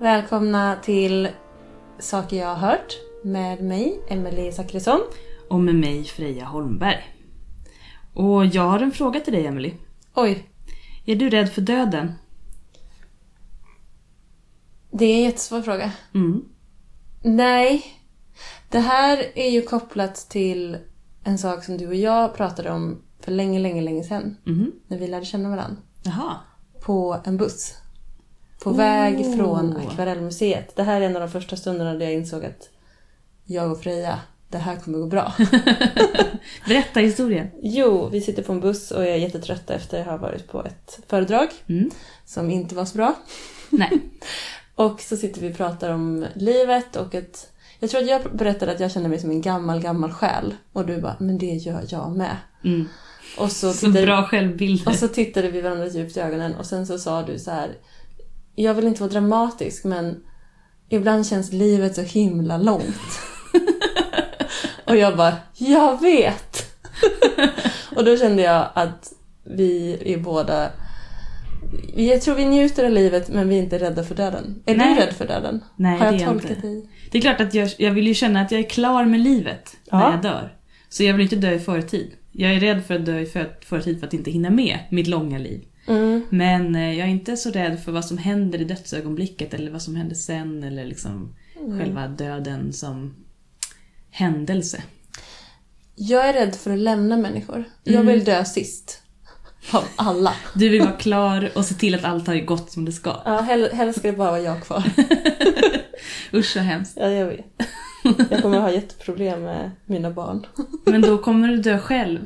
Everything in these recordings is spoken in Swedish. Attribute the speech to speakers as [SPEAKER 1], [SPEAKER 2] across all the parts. [SPEAKER 1] välkomna till Saker jag har hört med mig, Emelie Zachrisson.
[SPEAKER 2] Och med mig Freja Holmberg. Och jag har en fråga till dig Emily.
[SPEAKER 1] Oj,
[SPEAKER 2] Är du rädd för döden?
[SPEAKER 1] det är en jättesvår fråga.
[SPEAKER 2] Mm.
[SPEAKER 1] Nej, det här är ju kopplat till en sak som du och jag pratade om för länge, länge, länge sedan.
[SPEAKER 2] Mhm.
[SPEAKER 1] När vi lärde känna varandra.
[SPEAKER 2] Jaha.
[SPEAKER 1] På en buss. På
[SPEAKER 2] Oh.
[SPEAKER 1] väg från Akvarellmuseet. Det här är en av de första stunderna där jag insåg att jag och Freja, det här kommer gå bra.
[SPEAKER 2] Berätta historien.
[SPEAKER 1] Jo, vi sitter på en buss och jag är jättetrött efter att ha varit på ett föredrag
[SPEAKER 2] Mm.
[SPEAKER 1] som inte var så bra.
[SPEAKER 2] Nej.
[SPEAKER 1] Och så sitter vi och pratar om livet och ett... Jag tror att jag berättade att jag känner mig som en gammal, gammal själ. Och du bara, men det gör jag med.
[SPEAKER 2] Mm.
[SPEAKER 1] Och så,
[SPEAKER 2] Så
[SPEAKER 1] tittade,
[SPEAKER 2] bra självbild.
[SPEAKER 1] och så tittade vi varandra djupt i ögonen och sen så sa du så här. Jag vill inte vara dramatisk men ibland känns livet så himla långt. och jag bara, jag vet! och då kände jag att vi är båda... Jag tror vi njuter av livet men vi är inte rädda för döden. Är
[SPEAKER 2] Nej.
[SPEAKER 1] du rädd för döden?
[SPEAKER 2] Nej,
[SPEAKER 1] Har
[SPEAKER 2] det
[SPEAKER 1] jag
[SPEAKER 2] är jag inte.
[SPEAKER 1] tolkat dig?
[SPEAKER 2] Det är klart att jag, jag vill ju känna att jag är klar med livet när
[SPEAKER 1] Ja.
[SPEAKER 2] jag dör. Så jag vill inte dö i förtid. Jag är rädd för att dö i för, förtid för att inte hinna med mitt långa liv.
[SPEAKER 1] Mm.
[SPEAKER 2] Men eh, jag är inte så rädd för vad som händer i dödsögonblicket eller vad som händer sen eller liksom
[SPEAKER 1] Mm.
[SPEAKER 2] själva döden som händelse.
[SPEAKER 1] Jag är rädd för att lämna människor. Jag vill dö sist. Av alla.
[SPEAKER 2] Du vill vara klar och se till att allt har gått som det ska.
[SPEAKER 1] Ja, hell- helst ska det bara vara jag kvar.
[SPEAKER 2] Usch så hemskt.
[SPEAKER 1] Ja, jag vet. Jag kommer ha jätteproblem med mina barn.
[SPEAKER 2] Men då kommer du dö själv.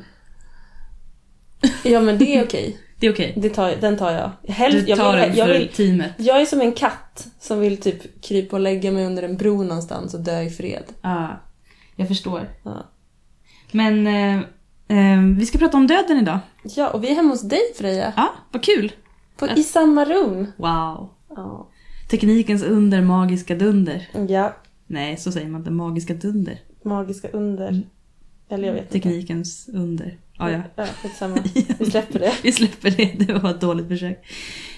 [SPEAKER 1] Ja, men det är okej.
[SPEAKER 2] Det är okej.
[SPEAKER 1] Det tar, den tar jag. Helst,
[SPEAKER 2] Du tar
[SPEAKER 1] jag, vill,
[SPEAKER 2] den
[SPEAKER 1] jag,
[SPEAKER 2] för
[SPEAKER 1] vill,
[SPEAKER 2] teamet.
[SPEAKER 1] jag är som en katt som vill typ krypa och lägga mig under en bro någonstans och dö i fred.
[SPEAKER 2] Ja, jag förstår.
[SPEAKER 1] Ja.
[SPEAKER 2] Men eh, eh, vi ska prata om döden idag.
[SPEAKER 1] Ja, och vi är hemma hos dig Freja.
[SPEAKER 2] Ja, vad kul!
[SPEAKER 1] På, I samma rum.
[SPEAKER 2] Wow.
[SPEAKER 1] Ja.
[SPEAKER 2] Teknikens under, magiska dunder.
[SPEAKER 1] ja,
[SPEAKER 2] Nej, så säger man inte. Magiska dunder.
[SPEAKER 1] magiska under. Eller jag vet inte.
[SPEAKER 2] Teknikens under. Ja, ja.
[SPEAKER 1] Mm. Ja, skitsamma. Vi släpper det.
[SPEAKER 2] Vi släpper det, det var ett dåligt försök.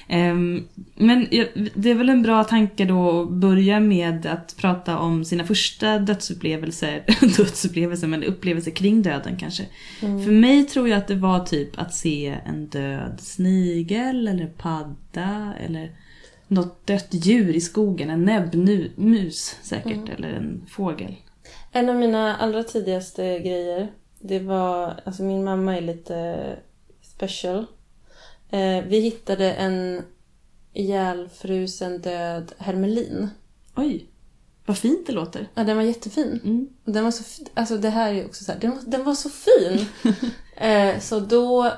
[SPEAKER 2] Ehm, men jag- det är väl en bra tanke då att börja med att prata om sina första dödsupplevelser, dödsupplevelser men upplevelser kring döden kanske. För mig tror jag att det var typ att se en död snigel eller padda eller något dött djur i skogen, en näbbmus säkert, eller en fågel.
[SPEAKER 1] En av mina allra tidigaste grejer, det var, alltså min mamma är lite special. Eh, vi hittade en ihjälfrusen död hermelin.
[SPEAKER 2] Oj, vad fint det låter.
[SPEAKER 1] Ja, den var jättefin.
[SPEAKER 2] Mm.
[SPEAKER 1] Och Den var så, f- alltså det här är också så här, den, var- den var så fin! Eh, så då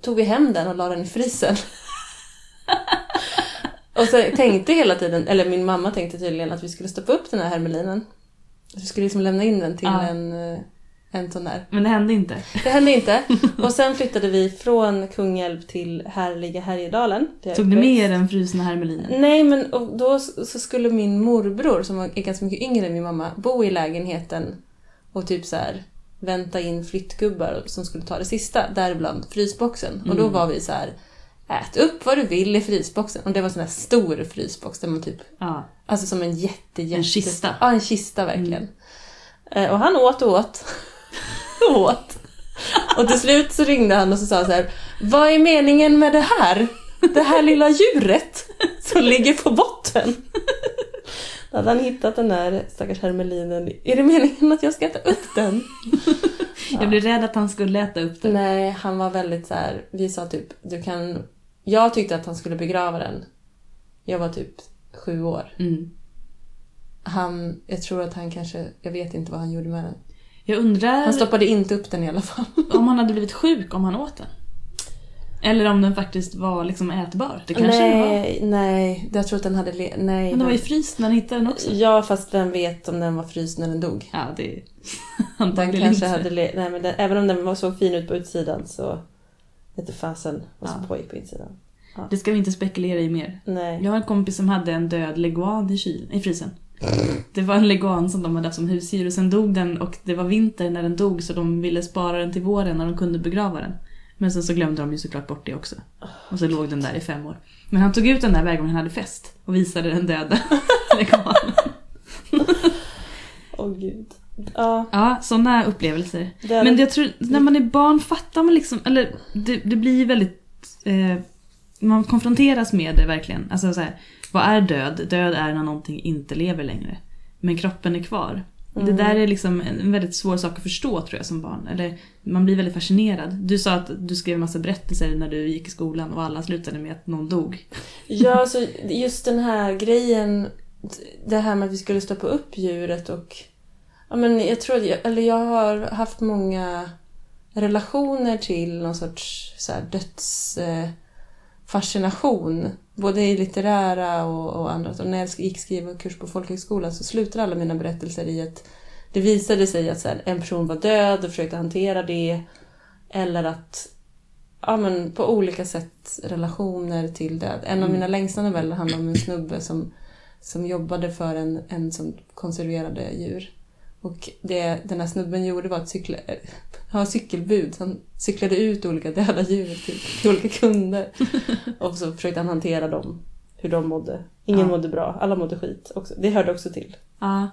[SPEAKER 1] tog vi hem den och la den i frysen. och så tänkte hela tiden, eller min mamma tänkte tydligen att vi skulle stoppa upp den här hermelinen. Att vi skulle liksom lämna in den till
[SPEAKER 2] Ja.
[SPEAKER 1] en, eh, en sån där.
[SPEAKER 2] Men det hände inte.
[SPEAKER 1] Det hände inte. Och sen flyttade vi från Kungälv till härliga Härjedalen. där jag
[SPEAKER 2] Tog ni
[SPEAKER 1] uppväxt.
[SPEAKER 2] med er den frusna hermelinen?
[SPEAKER 1] Nej, men och då s- så skulle min morbror, som var- är ganska mycket yngre än min mamma, bo i lägenheten och typ så här vänta in flyttgubbar som skulle ta det sista, däribland frysboxen. Och då var vi så här ät upp vad du vill i frysboxen. Och det var en sån här stor frysbox där man typ,
[SPEAKER 2] Ja.
[SPEAKER 1] alltså som en jätte, jätte
[SPEAKER 2] En kista. Mm.
[SPEAKER 1] Ja, en kista verkligen. Eh, Och han åt och åt. och åt. Och till slut så ringde han och så sa han så här, vad är meningen med det här? Det här lilla djuret som ligger på botten. Då hade han hittat den där stackars hermelinen. Är det meningen att jag ska äta upp den?
[SPEAKER 2] Jag blev rädd att han skulle äta upp den.
[SPEAKER 1] Nej, han var väldigt så här. vi sa typ, du kan... Jag tyckte att han skulle begrava den. Jag var typ sju år.
[SPEAKER 2] Mm.
[SPEAKER 1] Han, jag tror att han kanske, jag vet inte vad han gjorde med den.
[SPEAKER 2] Jag undrar
[SPEAKER 1] Han stoppade inte upp den i alla fall.
[SPEAKER 2] om han hade blivit sjuk om han åt den. Eller om den faktiskt var liksom ätbar. Det kanske den var.
[SPEAKER 1] nej, nej. Jag tror att den hade... Le- nej.
[SPEAKER 2] Men den var
[SPEAKER 1] han-
[SPEAKER 2] ju fryst när han hittade den också.
[SPEAKER 1] Ja, fast vem vet om den var fryst när den dog.
[SPEAKER 2] Ja, det är
[SPEAKER 1] Den
[SPEAKER 2] antagligen
[SPEAKER 1] kanske
[SPEAKER 2] inte.
[SPEAKER 1] hade... Le- nej, men den, även om den var så fin ut på utsidan så vete fasen vad som
[SPEAKER 2] Ja.
[SPEAKER 1] pågick på insidan.
[SPEAKER 2] Det ska vi inte spekulera i mer.
[SPEAKER 1] Nej.
[SPEAKER 2] Jag har en kompis som hade en död leguan i, kyl, i frysen. Det var en leguan som de hade haft som husdjur och sen dog den och det var vinter när den dog så de ville spara den till våren när de kunde begrava den. Men sen så glömde de ju såklart bort det också. Och så låg den där i fem år. Men han tog ut den där varje gång han hade fest och visade den döda leguanen.
[SPEAKER 1] Åh gud. Ja,
[SPEAKER 2] Ja, sådana upplevelser.
[SPEAKER 1] det är
[SPEAKER 2] Men jag tror, när man är barn fattar man liksom, eller det, det blir väldigt, eh, man konfronteras med det verkligen. Alltså så här, vad är död? Död är när någonting inte lever längre. Men kroppen är kvar.
[SPEAKER 1] Mm.
[SPEAKER 2] Det där är liksom en en väldigt svår sak att förstå tror jag som barn. Eller man blir väldigt fascinerad. Du sa att du skrev en massa berättelser när du gick i skolan och alla slutade med att någon dog.
[SPEAKER 1] Ja, så just den här grejen, det här med att vi skulle stoppa upp djuret och... Ja, men jag tror att jag, eller jag har haft många relationer till någon sorts så här, döds... Eh, fascination, både i litterära och, och annat. Och när jag gick skrivarkurs på folkhögskolan så slutade alla mina berättelser i att det visade sig att så här, en person var död och försökte hantera det. Eller att ja, men på olika sätt relationer till död. En av
[SPEAKER 2] Mm.
[SPEAKER 1] mina längsta noveller handlar om en snubbe som, som jobbade för en, en som konserverade djur. Och det den här snubben gjorde var att cykla, ha cykelbud. Han cyklade ut olika döda djur till, till olika kunder. Och så försökte han hantera dem, hur de mådde. Ingen
[SPEAKER 2] Ja.
[SPEAKER 1] mådde bra, alla mådde skit. Också. Det hörde också till.
[SPEAKER 2] Ja.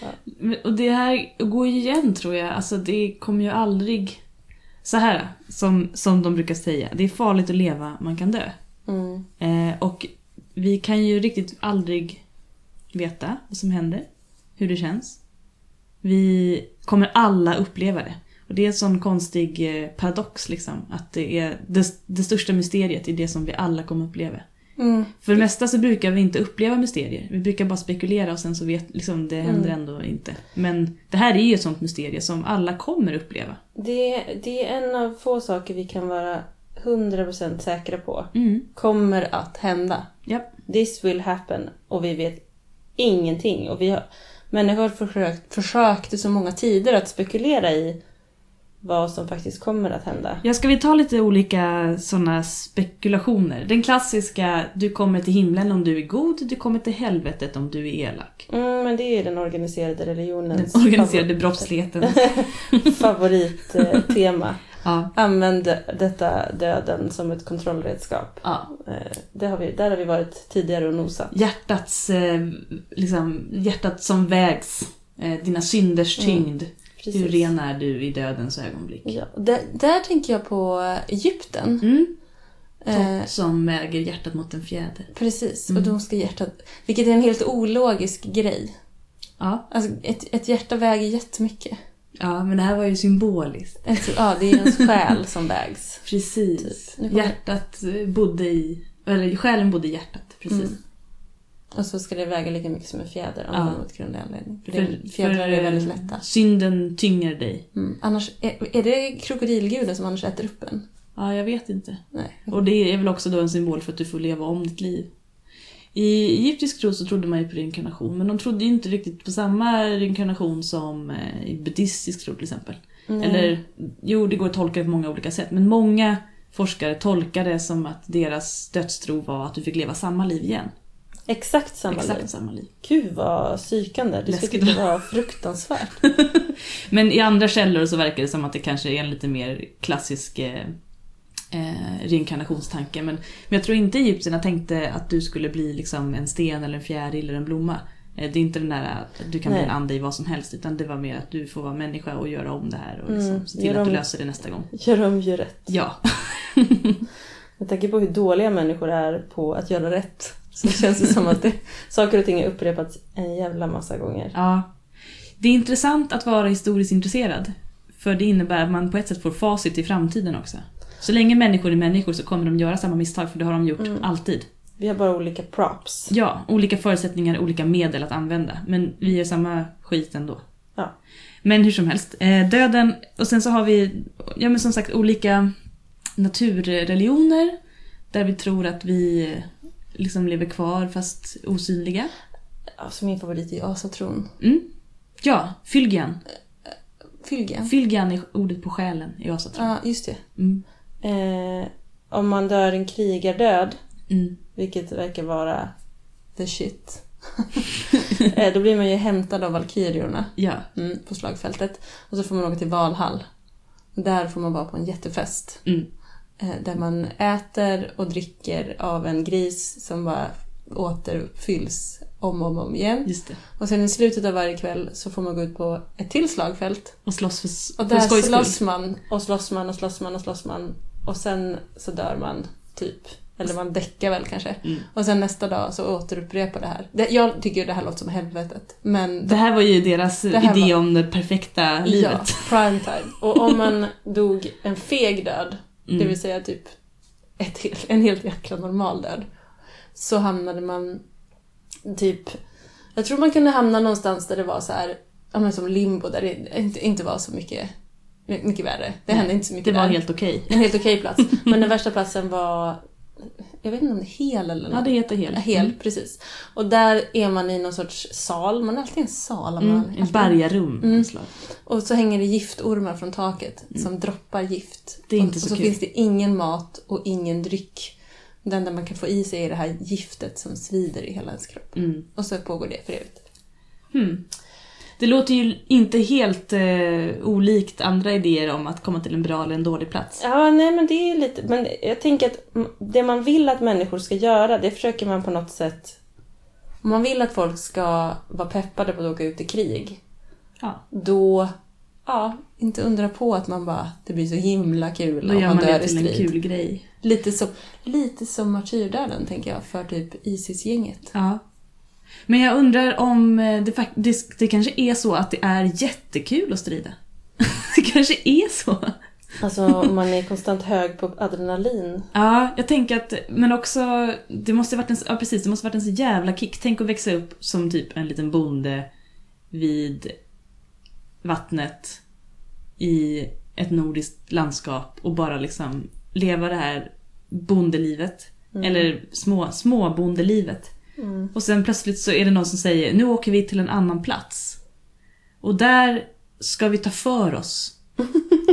[SPEAKER 1] Ja.
[SPEAKER 2] Men- Och det här går ju igen tror jag. Alltså det kommer ju aldrig... Så här som, som de brukar säga. Det är farligt att leva, man kan dö.
[SPEAKER 1] Mm.
[SPEAKER 2] Eh, och vi kan ju riktigt aldrig veta vad som händer. Hur det känns. Vi kommer alla uppleva det. Och det är en sån konstig eh, paradox liksom. Att det är det, det största mysteriet är det som vi alla kommer uppleva.
[SPEAKER 1] Mm.
[SPEAKER 2] För det mesta så brukar vi inte uppleva mysterier. Vi brukar bara spekulera och sen så vet liksom det händer ändå inte. Men det här är ju ett sånt mysterium som alla kommer uppleva.
[SPEAKER 1] Det, det är en av få saker vi kan vara 100% säkra på
[SPEAKER 2] Mm.
[SPEAKER 1] kommer att hända.
[SPEAKER 2] Japp.
[SPEAKER 1] This will happen och vi vet ingenting. Och vi har, människor har försökt, försökt i så många tider att spekulera i vad som faktiskt kommer att hända.
[SPEAKER 2] Ja, ska vi ta lite olika såna spekulationer? Den klassiska, du kommer till himlen om du är god, du kommer till helvetet om du är elak.
[SPEAKER 1] Mm, men det är ju den organiserade religionens
[SPEAKER 2] Den organiserade brottsligheten.
[SPEAKER 1] favorittema.
[SPEAKER 2] Ja.
[SPEAKER 1] Använd detta döden som ett kontrollredskap.
[SPEAKER 2] ja.
[SPEAKER 1] Eh, Det har vi, där har vi varit tidigare och nosat.
[SPEAKER 2] Hjärtats, eh, liksom, hjärtat som vägs, eh, dina synders
[SPEAKER 1] Mm,
[SPEAKER 2] tyngd.
[SPEAKER 1] Precis.
[SPEAKER 2] Hur ren är du i dödens ögonblick?
[SPEAKER 1] Ja, där, där tänker jag på Egypten.
[SPEAKER 2] Mm.
[SPEAKER 1] Eh,
[SPEAKER 2] Tott som äger hjärtat mot en fjäder.
[SPEAKER 1] precis,
[SPEAKER 2] Mm.
[SPEAKER 1] och de ska hjärtat... Vilket är en helt ologisk grej.
[SPEAKER 2] Ja.
[SPEAKER 1] Alltså, ett, ett hjärta väger jättemycket.
[SPEAKER 2] ja, men det här var ju symboliskt.
[SPEAKER 1] Ett, ja, det är ens själ som vägs.
[SPEAKER 2] Precis.
[SPEAKER 1] Typ. Nu kommer-
[SPEAKER 2] Hjärtat eh, bodde i, eller själen bodde i hjärtat. Precis.
[SPEAKER 1] Mm. Och så ska det väga lika mycket som en fjäder av
[SPEAKER 2] Ja.
[SPEAKER 1] någon outgrundlig anledning. För, det- fjädrar är
[SPEAKER 2] eh,
[SPEAKER 1] väldigt lätta.
[SPEAKER 2] Synden tynger dig.
[SPEAKER 1] Mm. Annars, är, är det krokodilguden som annars äter upp en?
[SPEAKER 2] Ja, jag vet inte.
[SPEAKER 1] Nej.
[SPEAKER 2] Och det är väl också då en symbol för att du får leva om ditt liv. I egyptisk tro så trodde man ju på reinkarnation, men de trodde ju inte riktigt på samma reinkarnation som eh, i buddhistisk tro till exempel.
[SPEAKER 1] Nej.
[SPEAKER 2] Eller, jo det går att tolka det på många olika sätt, men många forskare tolkar det som att deras dödstro var att du fick leva samma liv igen.
[SPEAKER 1] Exakt samma
[SPEAKER 2] Exakt
[SPEAKER 1] liv.
[SPEAKER 2] samma liv.
[SPEAKER 1] Gud vad psykande. Du
[SPEAKER 2] Läskigt,
[SPEAKER 1] skulle tycka det var fruktansvärt.
[SPEAKER 2] Men i andra källor så verkar det som att det kanske är en lite mer klassisk eh, eh, reinkarnationstanke. Men, men jag tror inte egyptierna tänkte att du skulle bli liksom en sten eller en fjäril eller en blomma. Eh, Det är inte den där att du kan bli
[SPEAKER 1] Nej.
[SPEAKER 2] en ande i vad som helst, utan det var mer att du får vara människa och göra om det här och liksom
[SPEAKER 1] Mm,
[SPEAKER 2] se till
[SPEAKER 1] gör
[SPEAKER 2] att du
[SPEAKER 1] om-
[SPEAKER 2] löser det nästa gång.
[SPEAKER 1] Gör om, gör rätt.
[SPEAKER 2] Ja,
[SPEAKER 1] Med tanke på hur dåliga människor är på att göra rätt så känns det som att det, saker och ting har upprepats en jävla massa gånger.
[SPEAKER 2] Ja. Det är intressant att vara historiskt intresserad. För det innebär att man på ett sätt får facit i framtiden också. Så länge människor är människor så kommer de göra samma misstag för det har de gjort
[SPEAKER 1] Mm.
[SPEAKER 2] alltid.
[SPEAKER 1] Vi har bara olika props.
[SPEAKER 2] Ja, olika förutsättningar, olika medel att använda. Men vi gör samma skit ändå.
[SPEAKER 1] Ja.
[SPEAKER 2] Men hur som helst, eh, döden och sen så har vi, ja men som sagt olika naturreligioner. Där vi tror att vi eh, liksom lever kvar fast osynliga.
[SPEAKER 1] Alltså min favorit är asatron.
[SPEAKER 2] Mm. Ja, fylgian.
[SPEAKER 1] Fylgen.
[SPEAKER 2] Fylgian är ordet på själen i asatron.
[SPEAKER 1] Ja, just det.
[SPEAKER 2] Mm.
[SPEAKER 1] Eh, om man dör en krigardöd,
[SPEAKER 2] Mm.
[SPEAKER 1] vilket verkar vara the shit, eh, då blir man ju hämtad av valkyriorna
[SPEAKER 2] Ja.
[SPEAKER 1] mm, på slagfältet. Och så får man åka till Valhall. Där får man vara på en jättefest.
[SPEAKER 2] Mm.
[SPEAKER 1] eh, där man äter och dricker av en gris som bara återfylls om och om igen.
[SPEAKER 2] Just det.
[SPEAKER 1] Och sen i slutet av varje kväll så får man gå ut på ett till slagfält.
[SPEAKER 2] Och slåss för,
[SPEAKER 1] Och
[SPEAKER 2] för
[SPEAKER 1] där
[SPEAKER 2] skojs skull.
[SPEAKER 1] slåss man och slåss man och slåss man och slåss man. Och sen så dör man, typ. Eller man däckar väl kanske.
[SPEAKER 2] Mm.
[SPEAKER 1] Och sen nästa dag så återupprepar det här. Det, jag tycker ju det här låter som helvetet. Men
[SPEAKER 2] Det här var ju deras
[SPEAKER 1] Det här
[SPEAKER 2] idé om det perfekta livet.
[SPEAKER 1] Ja, prime time. Och om man dog en feg död, det
[SPEAKER 2] Mm.
[SPEAKER 1] vill säga typ ett, hel- en helt jäkla normal död, så hamnade man typ... Jag tror man kunde hamna någonstans där det var så här, ja men som limbo, där det inte, inte var så mycket, mycket värre. Det
[SPEAKER 2] Nej,
[SPEAKER 1] hände inte så mycket
[SPEAKER 2] Det var
[SPEAKER 1] där.
[SPEAKER 2] helt okej.
[SPEAKER 1] En helt okej plats. Men den värsta platsen var, jag vet inte om det är hel eller något.
[SPEAKER 2] Ja, det heter hel. Mm.
[SPEAKER 1] Ja, Hel, precis. Och där är man i någon sorts sal. Man är alltid i en sal. om
[SPEAKER 2] Mm,
[SPEAKER 1] man,
[SPEAKER 2] en bergarum.
[SPEAKER 1] Mm.
[SPEAKER 2] slag.
[SPEAKER 1] och så hänger det giftormar från taket som droppar gift.
[SPEAKER 2] Mm. Det är inte
[SPEAKER 1] och,
[SPEAKER 2] så
[SPEAKER 1] och så
[SPEAKER 2] kul.
[SPEAKER 1] finns det ingen mat och ingen dryck. Det enda man kan få i sig är det här giftet som svider i hela ens kropp.
[SPEAKER 2] Mm.
[SPEAKER 1] Och så pågår det för evigt.
[SPEAKER 2] Hmm. Det låter ju inte helt eh, olikt andra idéer om att komma till en bra eller en dålig plats.
[SPEAKER 1] Ja, nej men det är ju lite... Men jag tänker att m- det man vill att människor ska göra, det försöker man på något sätt... Om man vill att folk ska vara peppade på att åka ut i krig,
[SPEAKER 2] Ja.
[SPEAKER 1] då... Ja, inte undra på att man bara, det blir så himla kul
[SPEAKER 2] Då
[SPEAKER 1] om
[SPEAKER 2] gör
[SPEAKER 1] man,
[SPEAKER 2] man
[SPEAKER 1] dör
[SPEAKER 2] det
[SPEAKER 1] i
[SPEAKER 2] till en
[SPEAKER 1] strid.
[SPEAKER 2] kul grej.
[SPEAKER 1] Lite som, lite som martyrdöden, tänker jag, för typ Isis-gänget.
[SPEAKER 2] Ja. Men jag undrar om eh, det, fak- det, det kanske är så att det är jättekul att strida. det kanske är så.
[SPEAKER 1] Alltså, om man är konstant hög på adrenalin.
[SPEAKER 2] Ja, jag tänker att, men också, det måste varit en, ja precis, det måste varit en så jävla kick. Tänk att växa upp som typ en liten bonde vid vattnet i ett nordiskt landskap och bara liksom leva det här bondelivet. Eller små, småbondelivet.
[SPEAKER 1] Mm.
[SPEAKER 2] Och sen plötsligt så är det någon som säger, nu åker vi till en annan plats. Och där ska vi ta för oss.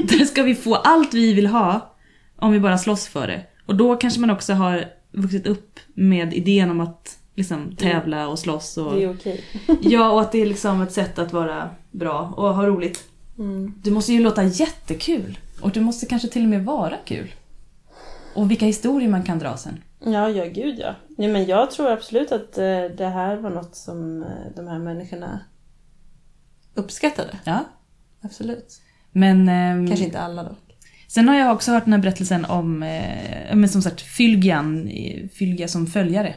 [SPEAKER 2] där ska vi få allt vi vill ha om vi bara slåss för det. Och då kanske man också har vuxit upp med idén om att liksom tävla och slåss
[SPEAKER 1] Det
[SPEAKER 2] och...
[SPEAKER 1] är okej.
[SPEAKER 2] Ja, och att det är liksom ett sätt att vara bra och ha roligt.
[SPEAKER 1] Mm.
[SPEAKER 2] Du måste ju låta jättekul. Och du måste kanske till och med vara kul. Och vilka historier man kan dra sen.
[SPEAKER 1] Ja, ja, gud ja. Nej, men jag tror absolut att eh, det här var något som eh, de här människorna uppskattade.
[SPEAKER 2] Ja.
[SPEAKER 1] Absolut.
[SPEAKER 2] Men... ehm,
[SPEAKER 1] Kanske inte alla dock.
[SPEAKER 2] Sen har jag också hört den här berättelsen om, eh, ja, men som sagt, fylgjan, eh, fylgja som följare.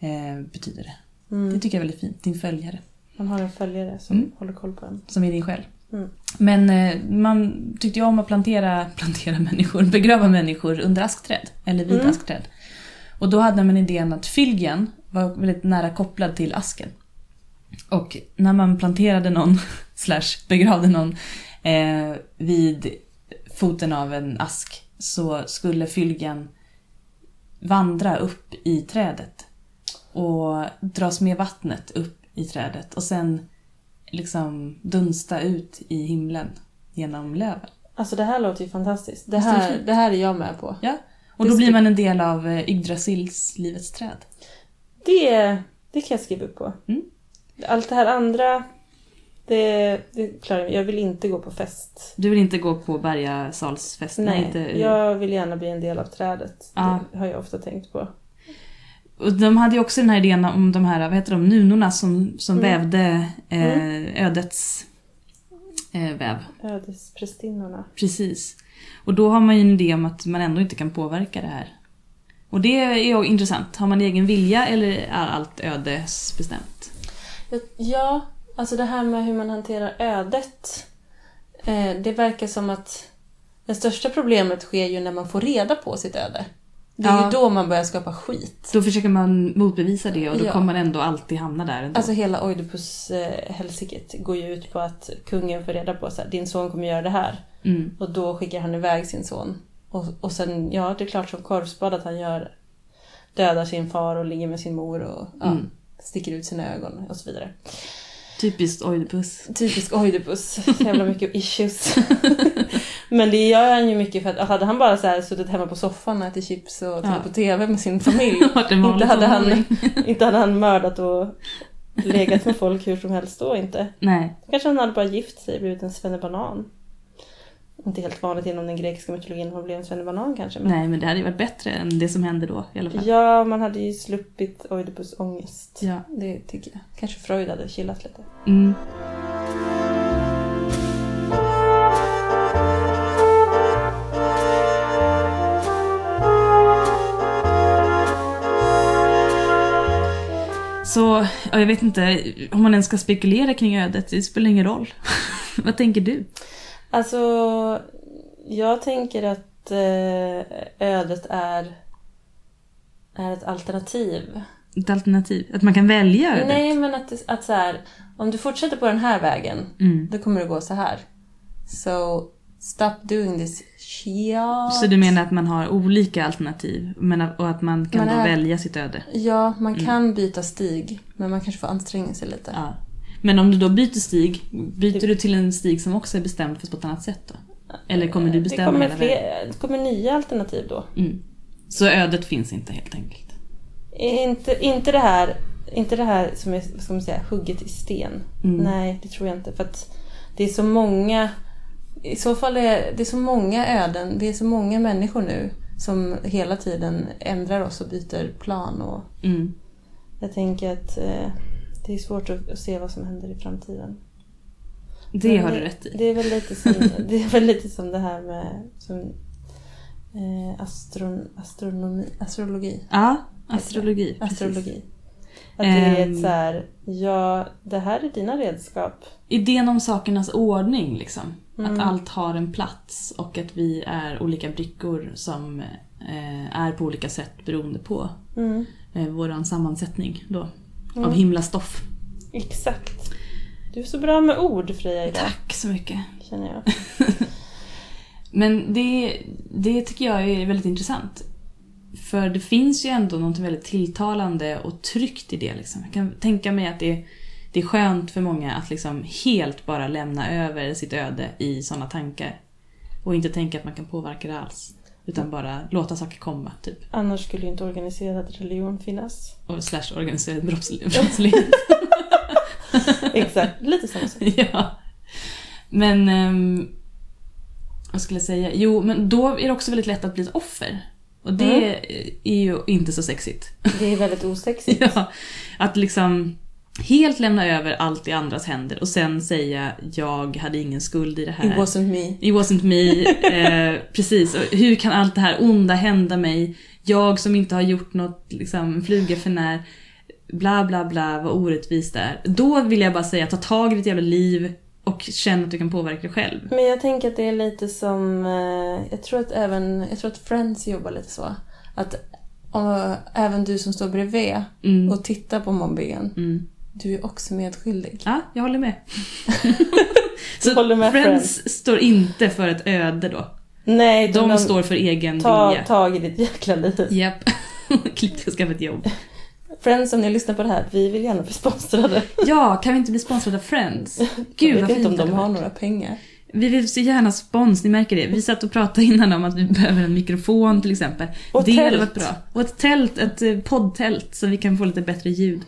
[SPEAKER 2] Eh, betyder det. Det
[SPEAKER 1] Mm.
[SPEAKER 2] tycker jag är väldigt fint, din följare,
[SPEAKER 1] Man har en följare som
[SPEAKER 2] Mm.
[SPEAKER 1] håller koll på en.
[SPEAKER 2] som är din själ.
[SPEAKER 1] Mm.
[SPEAKER 2] Men eh, man tyckte ju om att plantera, plantera människor, begrava människor under askträd, eller vid
[SPEAKER 1] Mm.
[SPEAKER 2] askträd. Och då hade man idén att fylgjan var väldigt nära kopplad till asken. Och när man planterade någon, slash begravde någon, eh, vid foten av en ask så skulle fylgen vandra upp i trädet och dras med vattnet upp i trädet och sen liksom dunsta ut i himlen genom löven.
[SPEAKER 1] Alltså det här låter ju fantastiskt. Det
[SPEAKER 2] Visst är det
[SPEAKER 1] här,
[SPEAKER 2] fint?
[SPEAKER 1] det här är jag med på.
[SPEAKER 2] Ja. Och
[SPEAKER 1] Det
[SPEAKER 2] då
[SPEAKER 1] ska-
[SPEAKER 2] blir man en del av eh, Yggdrasils livets träd.
[SPEAKER 1] Det, det kan jag skriva upp på.
[SPEAKER 2] Mm.
[SPEAKER 1] Allt det här andra, det, det klarar jag. Jag vill inte gå på fest.
[SPEAKER 2] Du vill inte gå på Bergasalsfest?
[SPEAKER 1] Nej,
[SPEAKER 2] inte...
[SPEAKER 1] jag vill gärna bli en del av trädet.
[SPEAKER 2] Ja.
[SPEAKER 1] Det har jag ofta tänkt på.
[SPEAKER 2] Och de hade ju också den här idén om de här, vad heter de, nunorna som, som
[SPEAKER 1] Mm.
[SPEAKER 2] vävde eh, ödets eh, väv.
[SPEAKER 1] Ödesprästinnorna.
[SPEAKER 2] Precis. Och då har man ju en idé om att man ändå inte kan påverka det här. Och det är ju intressant. Har man egen vilja eller är allt ödesbestämt?
[SPEAKER 1] Ja, alltså det här med hur man hanterar ödet. Eh, det verkar som att det största problemet sker ju när man får reda på sitt öde. Det är
[SPEAKER 2] Ja.
[SPEAKER 1] ju då man börjar skapa skit.
[SPEAKER 2] Då försöker man motbevisa det och då
[SPEAKER 1] Ja.
[SPEAKER 2] kommer man ändå alltid hamna där ändå.
[SPEAKER 1] Alltså hela Oidipus-helsiket går ju ut på att kungen får reda på att din son kommer göra det här.
[SPEAKER 2] mm.
[SPEAKER 1] Och då skickar han iväg sin son. Och, och sen, ja det är klart som korvspad att han gör dödar sin far och ligger med sin mor och ja,
[SPEAKER 2] Mm.
[SPEAKER 1] sticker ut sina ögon och så vidare.
[SPEAKER 2] Typiskt Oidipus.
[SPEAKER 1] Typisk Oidipus, så jävla mycket issues. Men det gör han ju mycket för att hade han bara så här suttit hemma på soffan och ätit chips och tittat
[SPEAKER 2] Ja.
[SPEAKER 1] på TV med sin familj.
[SPEAKER 2] Vart en vanlig
[SPEAKER 1] inte, hade han,
[SPEAKER 2] tonåring.
[SPEAKER 1] inte hade han mördat och legat med folk hur som helst då inte.
[SPEAKER 2] Nej.
[SPEAKER 1] Kanske han hade bara gift sig och blivit en svennebanan. inte helt vanligt inom den grekiska mytologin att bli en svennebanan kanske. Men...
[SPEAKER 2] Nej, men det hade ju varit bättre än det som hände då i alla fall.
[SPEAKER 1] Ja, man hade ju sluppit Oidipus ångest.
[SPEAKER 2] Ja.
[SPEAKER 1] Det tycker jag. Kanske Freud hade chillat lite.
[SPEAKER 2] Mm. Så, ja, jag vet inte om man ens ska spekulera kring ödet, det spelar ingen roll. Vad tänker du?
[SPEAKER 1] Alltså, jag tänker att eh, ödet är, är ett alternativ.
[SPEAKER 2] Ett alternativ? Att man kan välja ödet?
[SPEAKER 1] Nej, men att, det- att så här, om du fortsätter på den här vägen,
[SPEAKER 2] Mm.
[SPEAKER 1] då kommer det gå så här. So, stop doing this shit.
[SPEAKER 2] Så du menar att man har olika alternativ men, att- och att man kan
[SPEAKER 1] Man
[SPEAKER 2] då
[SPEAKER 1] är-
[SPEAKER 2] välja sitt öde?
[SPEAKER 1] Ja, man kan byta stig, men man kanske får anstränga sig lite.
[SPEAKER 2] Mm. Ja. Men om du då byter stig, byter du till en stig som också är bestämd fast på ett annat sätt då? Eller kommer du
[SPEAKER 1] Eh, Det
[SPEAKER 2] bestämma
[SPEAKER 1] kommer,
[SPEAKER 2] hela vägen?
[SPEAKER 1] fler, det kommer nya alternativ då.
[SPEAKER 2] Mm. Så ödet finns inte helt enkelt?
[SPEAKER 1] Inte, inte det här, inte det här som är som säga, hugget i sten.
[SPEAKER 2] Mm.
[SPEAKER 1] Nej, det tror jag inte. För att det är så många... I så fall är det är så många öden, det är så många människor nu som hela tiden ändrar oss och byter plan. Och
[SPEAKER 2] Mm.
[SPEAKER 1] jag tänker att eh, det är svårt att, att se vad som händer i framtiden.
[SPEAKER 2] Det
[SPEAKER 1] Men
[SPEAKER 2] har du rätt i.
[SPEAKER 1] Det är väl lite som det, är väl lite som det här med som, eh, astron, astronomi, astrologi.
[SPEAKER 2] Ja, astrologi. precis.
[SPEAKER 1] Astrologi. Att det är
[SPEAKER 2] Ehm.
[SPEAKER 1] ett så här, ja, det här är dina redskap.
[SPEAKER 2] Idén om sakernas ordning liksom.
[SPEAKER 1] Mm.
[SPEAKER 2] Att allt har en plats och att vi är olika brickor som eh, är på olika sätt beroende på
[SPEAKER 1] Mm.
[SPEAKER 2] eh, vår sammansättning då. Av
[SPEAKER 1] Mm.
[SPEAKER 2] himlastoff.
[SPEAKER 1] Exakt. Du är så bra med ord Freja idag,
[SPEAKER 2] Tack så mycket.
[SPEAKER 1] känner jag.
[SPEAKER 2] Men det, det tycker jag är väldigt intressant. För det finns ju ändå något väldigt tilltalande och tryggt i det. Liksom. Jag kan tänka mig att det, det är skönt för många att liksom helt bara lämna över sitt öde i sådana tankar. Och inte tänka att man kan påverka det alls. Utan bara låta saker komma, typ.
[SPEAKER 1] Annars skulle ju inte organiserad religion finnas.
[SPEAKER 2] Och slash organiserad brottslig- brottslighet.
[SPEAKER 1] Exakt, lite samma sak.
[SPEAKER 2] ja. Men... ehm, vad skulle jag säga? Jo, men då är det också väldigt lätt att bli ett offer. Och det
[SPEAKER 1] Mm.
[SPEAKER 2] är ju inte så sexigt.
[SPEAKER 1] Det är väldigt osexigt.
[SPEAKER 2] ja, att liksom helt lämna över allt i andras händer och sen säga jag hade ingen skuld i det här.
[SPEAKER 3] It wasn't me.
[SPEAKER 2] It wasn't me. Eh, precis. Och hur kan allt det här onda hända mig? Jag som inte har gjort något, liksom, en fluga för när. Bla, bla, bla, vad orättvist det är. Då vill jag bara säga, ta tag i ditt jävla liv och känn att du kan påverka dig själv.
[SPEAKER 1] Men jag tänker att det är lite som, eh, jag tror att även, jag tror att Friends jobbar lite så. Att eh, även du som står bredvid
[SPEAKER 2] Mm.
[SPEAKER 1] och tittar på mobbingen,
[SPEAKER 2] Mm.
[SPEAKER 1] du är också medskyldig.
[SPEAKER 2] Ja, jag håller med. Så
[SPEAKER 1] håller med
[SPEAKER 2] Friends står inte för ett öde då.
[SPEAKER 1] Nej,
[SPEAKER 2] De står för egen
[SPEAKER 1] Ta
[SPEAKER 2] vilja.
[SPEAKER 1] tag i ditt jäkla liv.
[SPEAKER 2] Japp. Klipp dig och skaffa ett jobb.
[SPEAKER 1] Friends, om ni lyssnar på det här, vi vill gärna bli sponsrade.
[SPEAKER 2] Ja, kan vi inte bli sponsrade av Friends? Gud
[SPEAKER 1] jag
[SPEAKER 2] vad
[SPEAKER 1] vet inte
[SPEAKER 2] fint
[SPEAKER 1] om
[SPEAKER 2] det
[SPEAKER 1] de
[SPEAKER 2] hade
[SPEAKER 1] har
[SPEAKER 2] varit.
[SPEAKER 1] några pengar.
[SPEAKER 2] Vi vill så gärna spons, ni märker det. Vi satt och pratade innan om att vi behöver en mikrofon till exempel.
[SPEAKER 1] Och
[SPEAKER 2] det hade
[SPEAKER 1] tält.
[SPEAKER 2] varit bra. Och ett tält, ett eh, poddtält så vi kan få lite bättre ljud.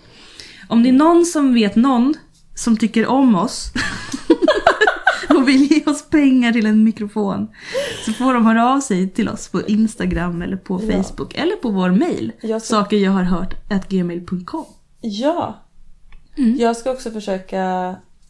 [SPEAKER 2] Om det är någon som vet någon som tycker om oss och vill ge oss pengar till en mikrofon så får de höra av sig till oss på Instagram eller på
[SPEAKER 1] Ja.
[SPEAKER 2] Facebook eller på vår mail.
[SPEAKER 1] Jag ska,
[SPEAKER 2] Saker jag har hört at gmail.com.
[SPEAKER 1] ja.
[SPEAKER 2] Mm.
[SPEAKER 1] Jag ska också försöka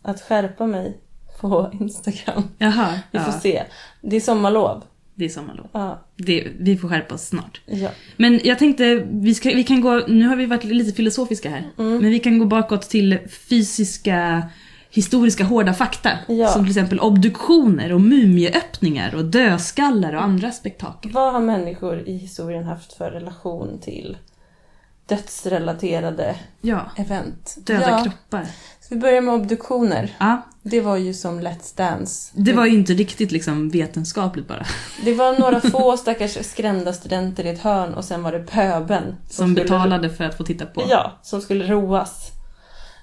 [SPEAKER 1] att skärpa mig på Instagram.
[SPEAKER 2] Jaha,
[SPEAKER 1] Vi får
[SPEAKER 2] ja,
[SPEAKER 1] se. Det är sommarlov.
[SPEAKER 2] det är sommarlov.
[SPEAKER 1] Ja,
[SPEAKER 2] Det, vi får skärpa oss snart.
[SPEAKER 1] ja.
[SPEAKER 2] Men jag tänkte, vi, ska, vi kan gå, nu har vi varit lite filosofiska här,
[SPEAKER 1] Mm.
[SPEAKER 2] men vi kan gå bakåt till fysiska, historiska hårda fakta.
[SPEAKER 1] Ja.
[SPEAKER 2] Som till exempel obduktioner och mumieöppningar och dödskallar och
[SPEAKER 1] Mm.
[SPEAKER 2] andra spektakel.
[SPEAKER 1] Vad har människor i historien haft för relation till dödsrelaterade
[SPEAKER 2] Ja,
[SPEAKER 1] event?
[SPEAKER 2] döda
[SPEAKER 1] ja.
[SPEAKER 2] kroppar.
[SPEAKER 1] Så vi börjar med obduktioner.
[SPEAKER 2] Ja,
[SPEAKER 1] Det var ju som Let's Dance.
[SPEAKER 2] det var ju inte riktigt liksom vetenskapligt bara.
[SPEAKER 1] Det var några få stackars skrämda studenter i ett hörn och sen var det pöben.
[SPEAKER 2] Som
[SPEAKER 1] skulle-
[SPEAKER 2] betalade för att få titta på.
[SPEAKER 1] Ja, som skulle roas.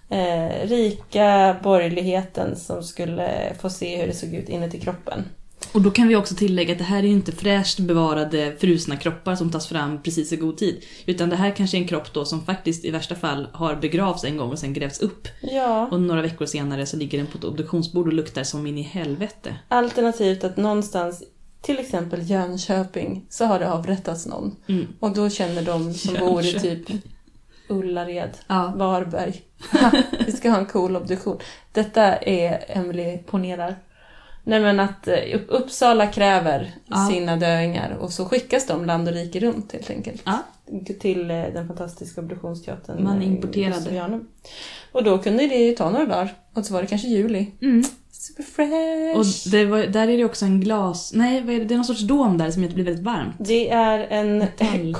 [SPEAKER 1] Eh, rika borgerligheten som skulle få se hur det såg ut inuti kroppen.
[SPEAKER 2] Och då kan vi också tillägga att det här är ju inte fräscht bevarade frusna kroppar som tas fram precis i god tid. Utan det här kanske är en kropp då som faktiskt i värsta fall har begravts en gång och sen grävs upp.
[SPEAKER 1] Ja.
[SPEAKER 2] Och några veckor senare så ligger den på ett obduktionsbord och luktar som in i helvete.
[SPEAKER 1] Alternativt att någonstans, till exempel Jönköping, så har det avrättats någon.
[SPEAKER 2] Mm.
[SPEAKER 1] Och då känner de som bor i typ Ullared,
[SPEAKER 2] Ja.
[SPEAKER 1] Varberg. Ha, Vi ska ha en cool obduktion. Detta är Emily ponerar. Nej men att eh, Upp- Uppsala kräver
[SPEAKER 2] Ja.
[SPEAKER 1] sina döingar och så skickas de land och rike runt helt enkelt.
[SPEAKER 2] Ja.
[SPEAKER 1] Till eh, den fantastiska obduktionsteatern.
[SPEAKER 2] Man
[SPEAKER 1] eh, i
[SPEAKER 2] importerade.
[SPEAKER 1] Ljusbjörnen. Och då kunde det ju ta några dagar. Och så var det kanske juli.
[SPEAKER 2] Mm.
[SPEAKER 1] Superfresh!
[SPEAKER 2] Och det var, där är det också en glas... Nej, vad är det? det är någon sorts dom där som gör att det blir väldigt varmt.
[SPEAKER 1] Det är en
[SPEAKER 2] Metall.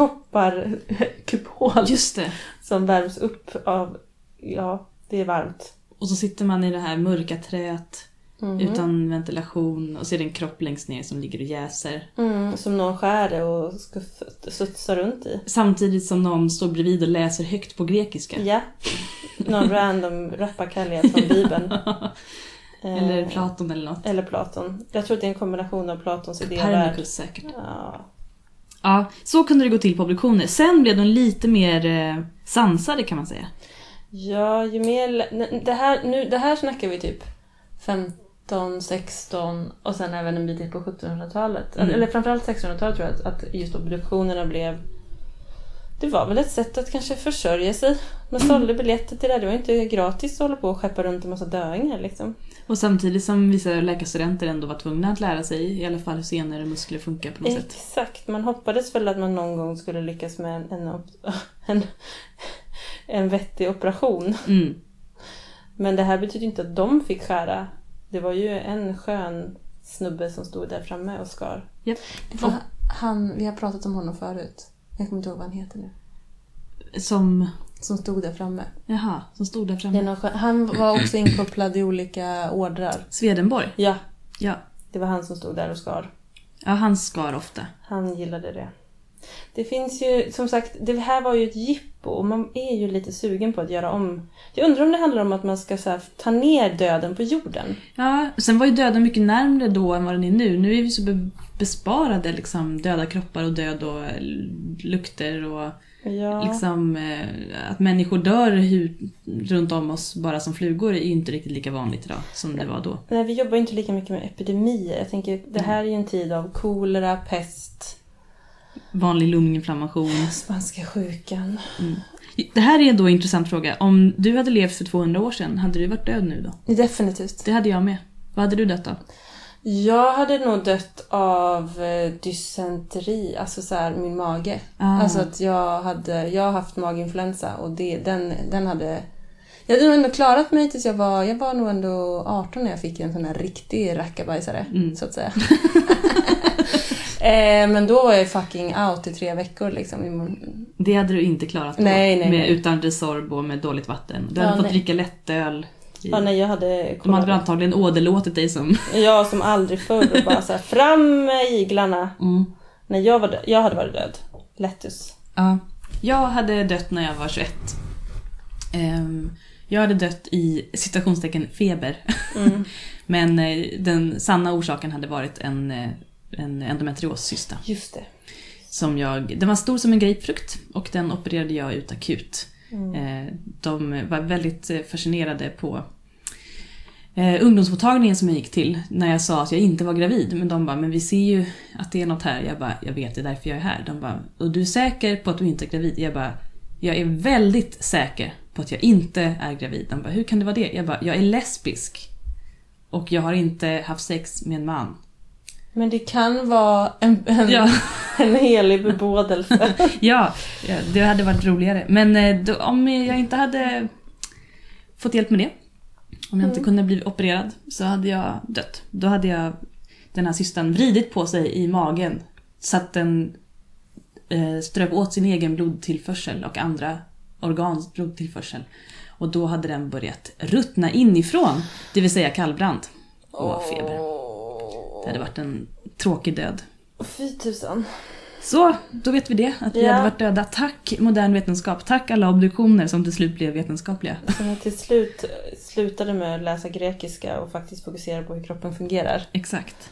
[SPEAKER 1] kopparkupol
[SPEAKER 2] Just det.
[SPEAKER 1] som värms upp av, ja, det är varmt.
[SPEAKER 2] Och så sitter man i det här mörka träet
[SPEAKER 1] Mhm.
[SPEAKER 2] utan ventilation och ser en kropp längst ner som ligger och jäser.
[SPEAKER 1] Mm, som någon skär det och ska f- studsa runt i.
[SPEAKER 2] Samtidigt som någon står bredvid och läser högt på grekiska.
[SPEAKER 1] Ja. Någon random rappakalja från
[SPEAKER 2] Mm.
[SPEAKER 1] Bibeln. Eh,
[SPEAKER 2] Eller Platon eller något.
[SPEAKER 1] eller Platon. Jag tror att det är en kombination av Platons idéer. där.
[SPEAKER 2] Pernicus säkert.
[SPEAKER 1] Ja.
[SPEAKER 2] Ja, så kunde det gå till på obduktioner. Sen blev de lite mer eh, sansade kan man säga.
[SPEAKER 1] ja, ju mer... n- Det här, nu, det här snackar vi typ 15, 16 och sen även en bit in på 1700-talet.
[SPEAKER 2] Mm.
[SPEAKER 1] Eller framförallt 1600-talet tror jag att, att just obduktionerna blev... Det var väl ett sätt att kanske försörja sig. Man
[SPEAKER 2] Mm.
[SPEAKER 1] sålde biljetter till det. Det var ju inte gratis att hålla på och skeppa runt en massa döingar liksom.
[SPEAKER 2] Och samtidigt som vissa läkarstudenter ändå var tvungna att lära sig i alla fall hur senare muskler funkar
[SPEAKER 1] Eh.
[SPEAKER 2] på något sätt.
[SPEAKER 1] Exakt, man hoppades väl att man någon gång skulle lyckas med en, en, op- en, en vettig operation.
[SPEAKER 2] Mm.
[SPEAKER 1] Men det här betyder inte att de fick skära. Det var ju en skön snubbe som stod där framme och skar.
[SPEAKER 4] Vad- Han, vi har pratat om honom förut. Jag kommer inte ihåg vad han heter nu.
[SPEAKER 2] Som,
[SPEAKER 4] Som stod där framme.
[SPEAKER 2] jaha, som stod där
[SPEAKER 1] Det är
[SPEAKER 2] framme.
[SPEAKER 1] någon skön, han var också inkopplad i olika ordrar.
[SPEAKER 2] Swedenborg.
[SPEAKER 1] Ja,
[SPEAKER 2] Ja.
[SPEAKER 1] det var han som stod där och skar.
[SPEAKER 2] ja, han skar ofta.
[SPEAKER 1] Han gillade det. Det finns ju, som sagt, det här var ju ett jippo och man är ju lite sugen på att göra om. Jag undrar om det handlar om att man ska så här, ta ner döden på jorden.
[SPEAKER 2] Ja, sen var ju döden mycket närmre då än vad den är nu. Nu är vi så be- besparade liksom döda kroppar och död och eh, lukter och
[SPEAKER 1] Ja.
[SPEAKER 2] liksom eh, att människor dör hu- runt om oss bara som flugor är ju inte riktigt lika vanligt idag som det var då.
[SPEAKER 1] Nej, vi jobbar ju inte lika mycket med epidemier. Jag tänker, det här är ju en tid av kolera, pest,
[SPEAKER 2] Vanlig lunginflammation.
[SPEAKER 1] spanska sjukan.
[SPEAKER 2] Det här är då en intressant fråga. Om du hade levt för 200 år sedan, hade du varit död nu då?
[SPEAKER 1] Definitivt.
[SPEAKER 2] Det hade jag med. Vad hade du dött av?
[SPEAKER 1] Jag hade nog dött av eh, dysenteri, alltså så här min mage.
[SPEAKER 2] Ah.
[SPEAKER 1] Alltså att jag hade, jag har haft maginfluensa och det, den, den hade... Jag hade nog ändå klarat mig tills jag var, jag var nog ändå 18 när jag fick en sån här riktig rackabajsare,
[SPEAKER 2] Mm.
[SPEAKER 1] så att säga. eh, men då var jag fucking out i tre veckor liksom. i-
[SPEAKER 2] Det hade du inte klarat då,
[SPEAKER 1] Nej, nej,
[SPEAKER 2] med,
[SPEAKER 1] nej.
[SPEAKER 2] utan Resorb och med dåligt vatten. Du
[SPEAKER 1] Ja,
[SPEAKER 2] hade fått
[SPEAKER 1] nej.
[SPEAKER 2] dricka lättöl. i-
[SPEAKER 1] Ja, nej, jag hade
[SPEAKER 2] De hade väl antagligen åderlåtit dig som...
[SPEAKER 1] Jag som aldrig förr och bara så här, fram med iglarna. När jag var död, jag hade varit död. Lettus.
[SPEAKER 2] Ja. Jag hade dött när jag var 21. Ehm, jag hade dött i citationstecken feber.
[SPEAKER 1] Mm.
[SPEAKER 2] Men eh, den sanna orsaken hade varit en, eh, en endometrioscysta.
[SPEAKER 1] Just det.
[SPEAKER 2] Som jag, den var stor som en grapefrukt och den opererade jag ut akut.
[SPEAKER 1] Mm.
[SPEAKER 2] Eh, De var väldigt eh, fascinerade på eh, ungdomsmottagningen som jag gick till när jag sa att jag inte var gravid. Men de bara, men vi ser ju att det är något här. Jag bara, jag vet, det är därför jag är här. De bara, och du är säker på att du inte är gravid? Jag bara, jag är väldigt säker på att jag inte är gravid. De bara, hur kan det vara det? Jag bara, jag är lesbisk. Och jag har inte haft sex med en man.
[SPEAKER 1] Men det kan vara en, en,
[SPEAKER 2] Ja.
[SPEAKER 1] en helig bebådelse.
[SPEAKER 2] Ja, ja, det hade varit roligare. Men eh, då, om jag inte hade fått hjälp med det, om jag inte kunde bli opererad, så hade jag dött. Då hade jag den här systern vridit på sig i magen så att den eh, ströp åt sin egen blodtillförsel och andra organs blodtillförsel. Och då hade den börjat ruttna inifrån, det vill säga kallbrand och feber. Det hade varit en tråkig död.
[SPEAKER 1] Fy tusan.
[SPEAKER 2] Så, då vet vi det. Att vi
[SPEAKER 1] Ja.
[SPEAKER 2] hade varit döda. Tack modern vetenskap. Tack alla obduktioner som till slut blev vetenskapliga.
[SPEAKER 1] Som jag till slut slutade med att läsa grekiska och faktiskt fokusera på hur kroppen fungerar.
[SPEAKER 2] Exakt.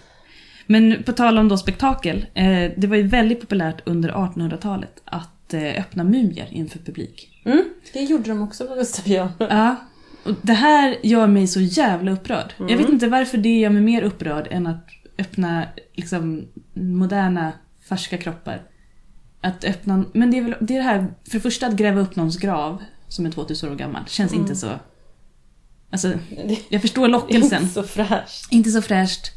[SPEAKER 2] Men på tal om då spektakel. Eh, det var ju väldigt populärt under 1800-talet att eh, öppna mumier inför publik.
[SPEAKER 5] Mm, det gjorde de också på Gustav Jan.
[SPEAKER 2] Ja. Och det här gör mig så jävla upprörd. Jag vet inte varför det gör mig mer upprörd än att öppna liksom, moderna, färska kroppar. Att öppna, men det är väl det, är det här, för det första att gräva upp någons grav som är 2000 år gammal, känns inte så... Alltså,
[SPEAKER 5] Det
[SPEAKER 2] jag förstår
[SPEAKER 5] är inte
[SPEAKER 2] lockelsen.
[SPEAKER 5] så fräscht.
[SPEAKER 2] Inte så fräscht.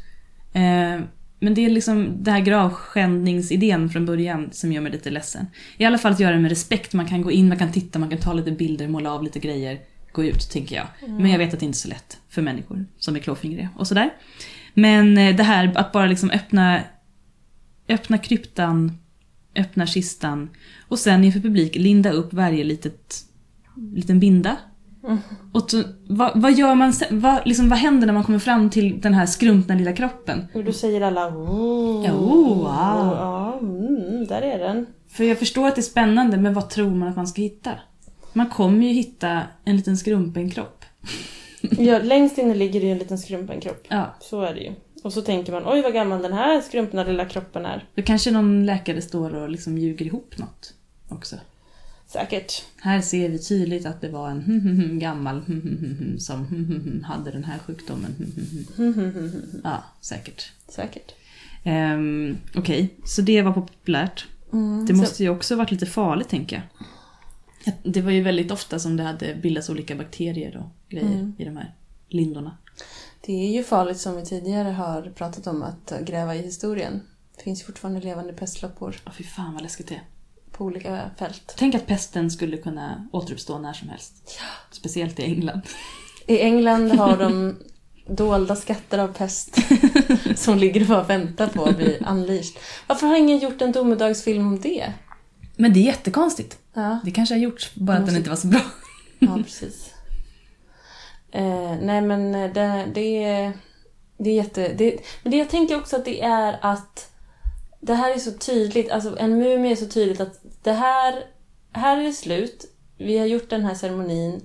[SPEAKER 2] Eh, men det är liksom den här gravskändningsidén från början som gör mig lite ledsen. I alla fall att göra det med respekt. Man kan gå in, man kan titta, man kan ta lite bilder, måla av lite grejer. Gå ut, tänker jag. Men jag vet att det inte är så lätt för människor som är klåfingriga och sådär. Men eh, det här att bara liksom öppna, öppna kryptan, öppna kistan och sen inför publik linda upp varje litet, liten binda. Och så, vad, vad gör man sen? Vad, liksom, vad händer när man kommer fram till den här skrumpna lilla kroppen?
[SPEAKER 5] Och då säger alla oh,
[SPEAKER 2] Ja, oh, wow."
[SPEAKER 5] Ja, mm, där är den.
[SPEAKER 2] För jag förstår att det är spännande, men vad tror man att man ska hitta? Man kommer ju hitta en liten skrumpen kropp.
[SPEAKER 5] Ja, längst inne ligger det ju en liten skrumpen kropp.
[SPEAKER 2] Ja,
[SPEAKER 5] Så är det ju. Och så tänker man, oj vad gammal den här skrumpna lilla kroppen är.
[SPEAKER 2] då kanske någon läkare står och liksom ljuger ihop något också.
[SPEAKER 5] Säkert.
[SPEAKER 2] Här ser vi tydligt att det var en hmm, gammal hmm, som hmm, hade den här sjukdomen. Hmm, Ja, säkert.
[SPEAKER 5] Säkert.
[SPEAKER 2] Ehm, Okej, så det var populärt. det måste ju också varit lite farligt tänker jag. Att Det var ju väldigt ofta som det hade bildats olika bakterier och grejer i de här lindorna.
[SPEAKER 1] Det är ju farligt som vi tidigare har pratat om att gräva i historien. Det finns ju fortfarande levande pestloppor
[SPEAKER 2] Åh fy fan vad läskigt det är.
[SPEAKER 1] på olika fält.
[SPEAKER 2] Tänk att pesten skulle kunna återuppstå när som helst. Speciellt i England.
[SPEAKER 1] I England har de dolda skatter av pest som ligger och bara väntar på att bli unleashed. Varför har ingen gjort en domedagsfilm om det?
[SPEAKER 2] Men det är jättekonstigt.
[SPEAKER 1] Ja,
[SPEAKER 2] Det kanske har gjorts, bara att den
[SPEAKER 1] måste-
[SPEAKER 2] inte var så bra.
[SPEAKER 1] ja precis. Eh, nej men det, det är... Det är jätte... Det, men det jag tänker också att det är att det här är så tydligt, alltså en mumie är så tydligt att det här, här är det slut, vi har gjort den här ceremonin,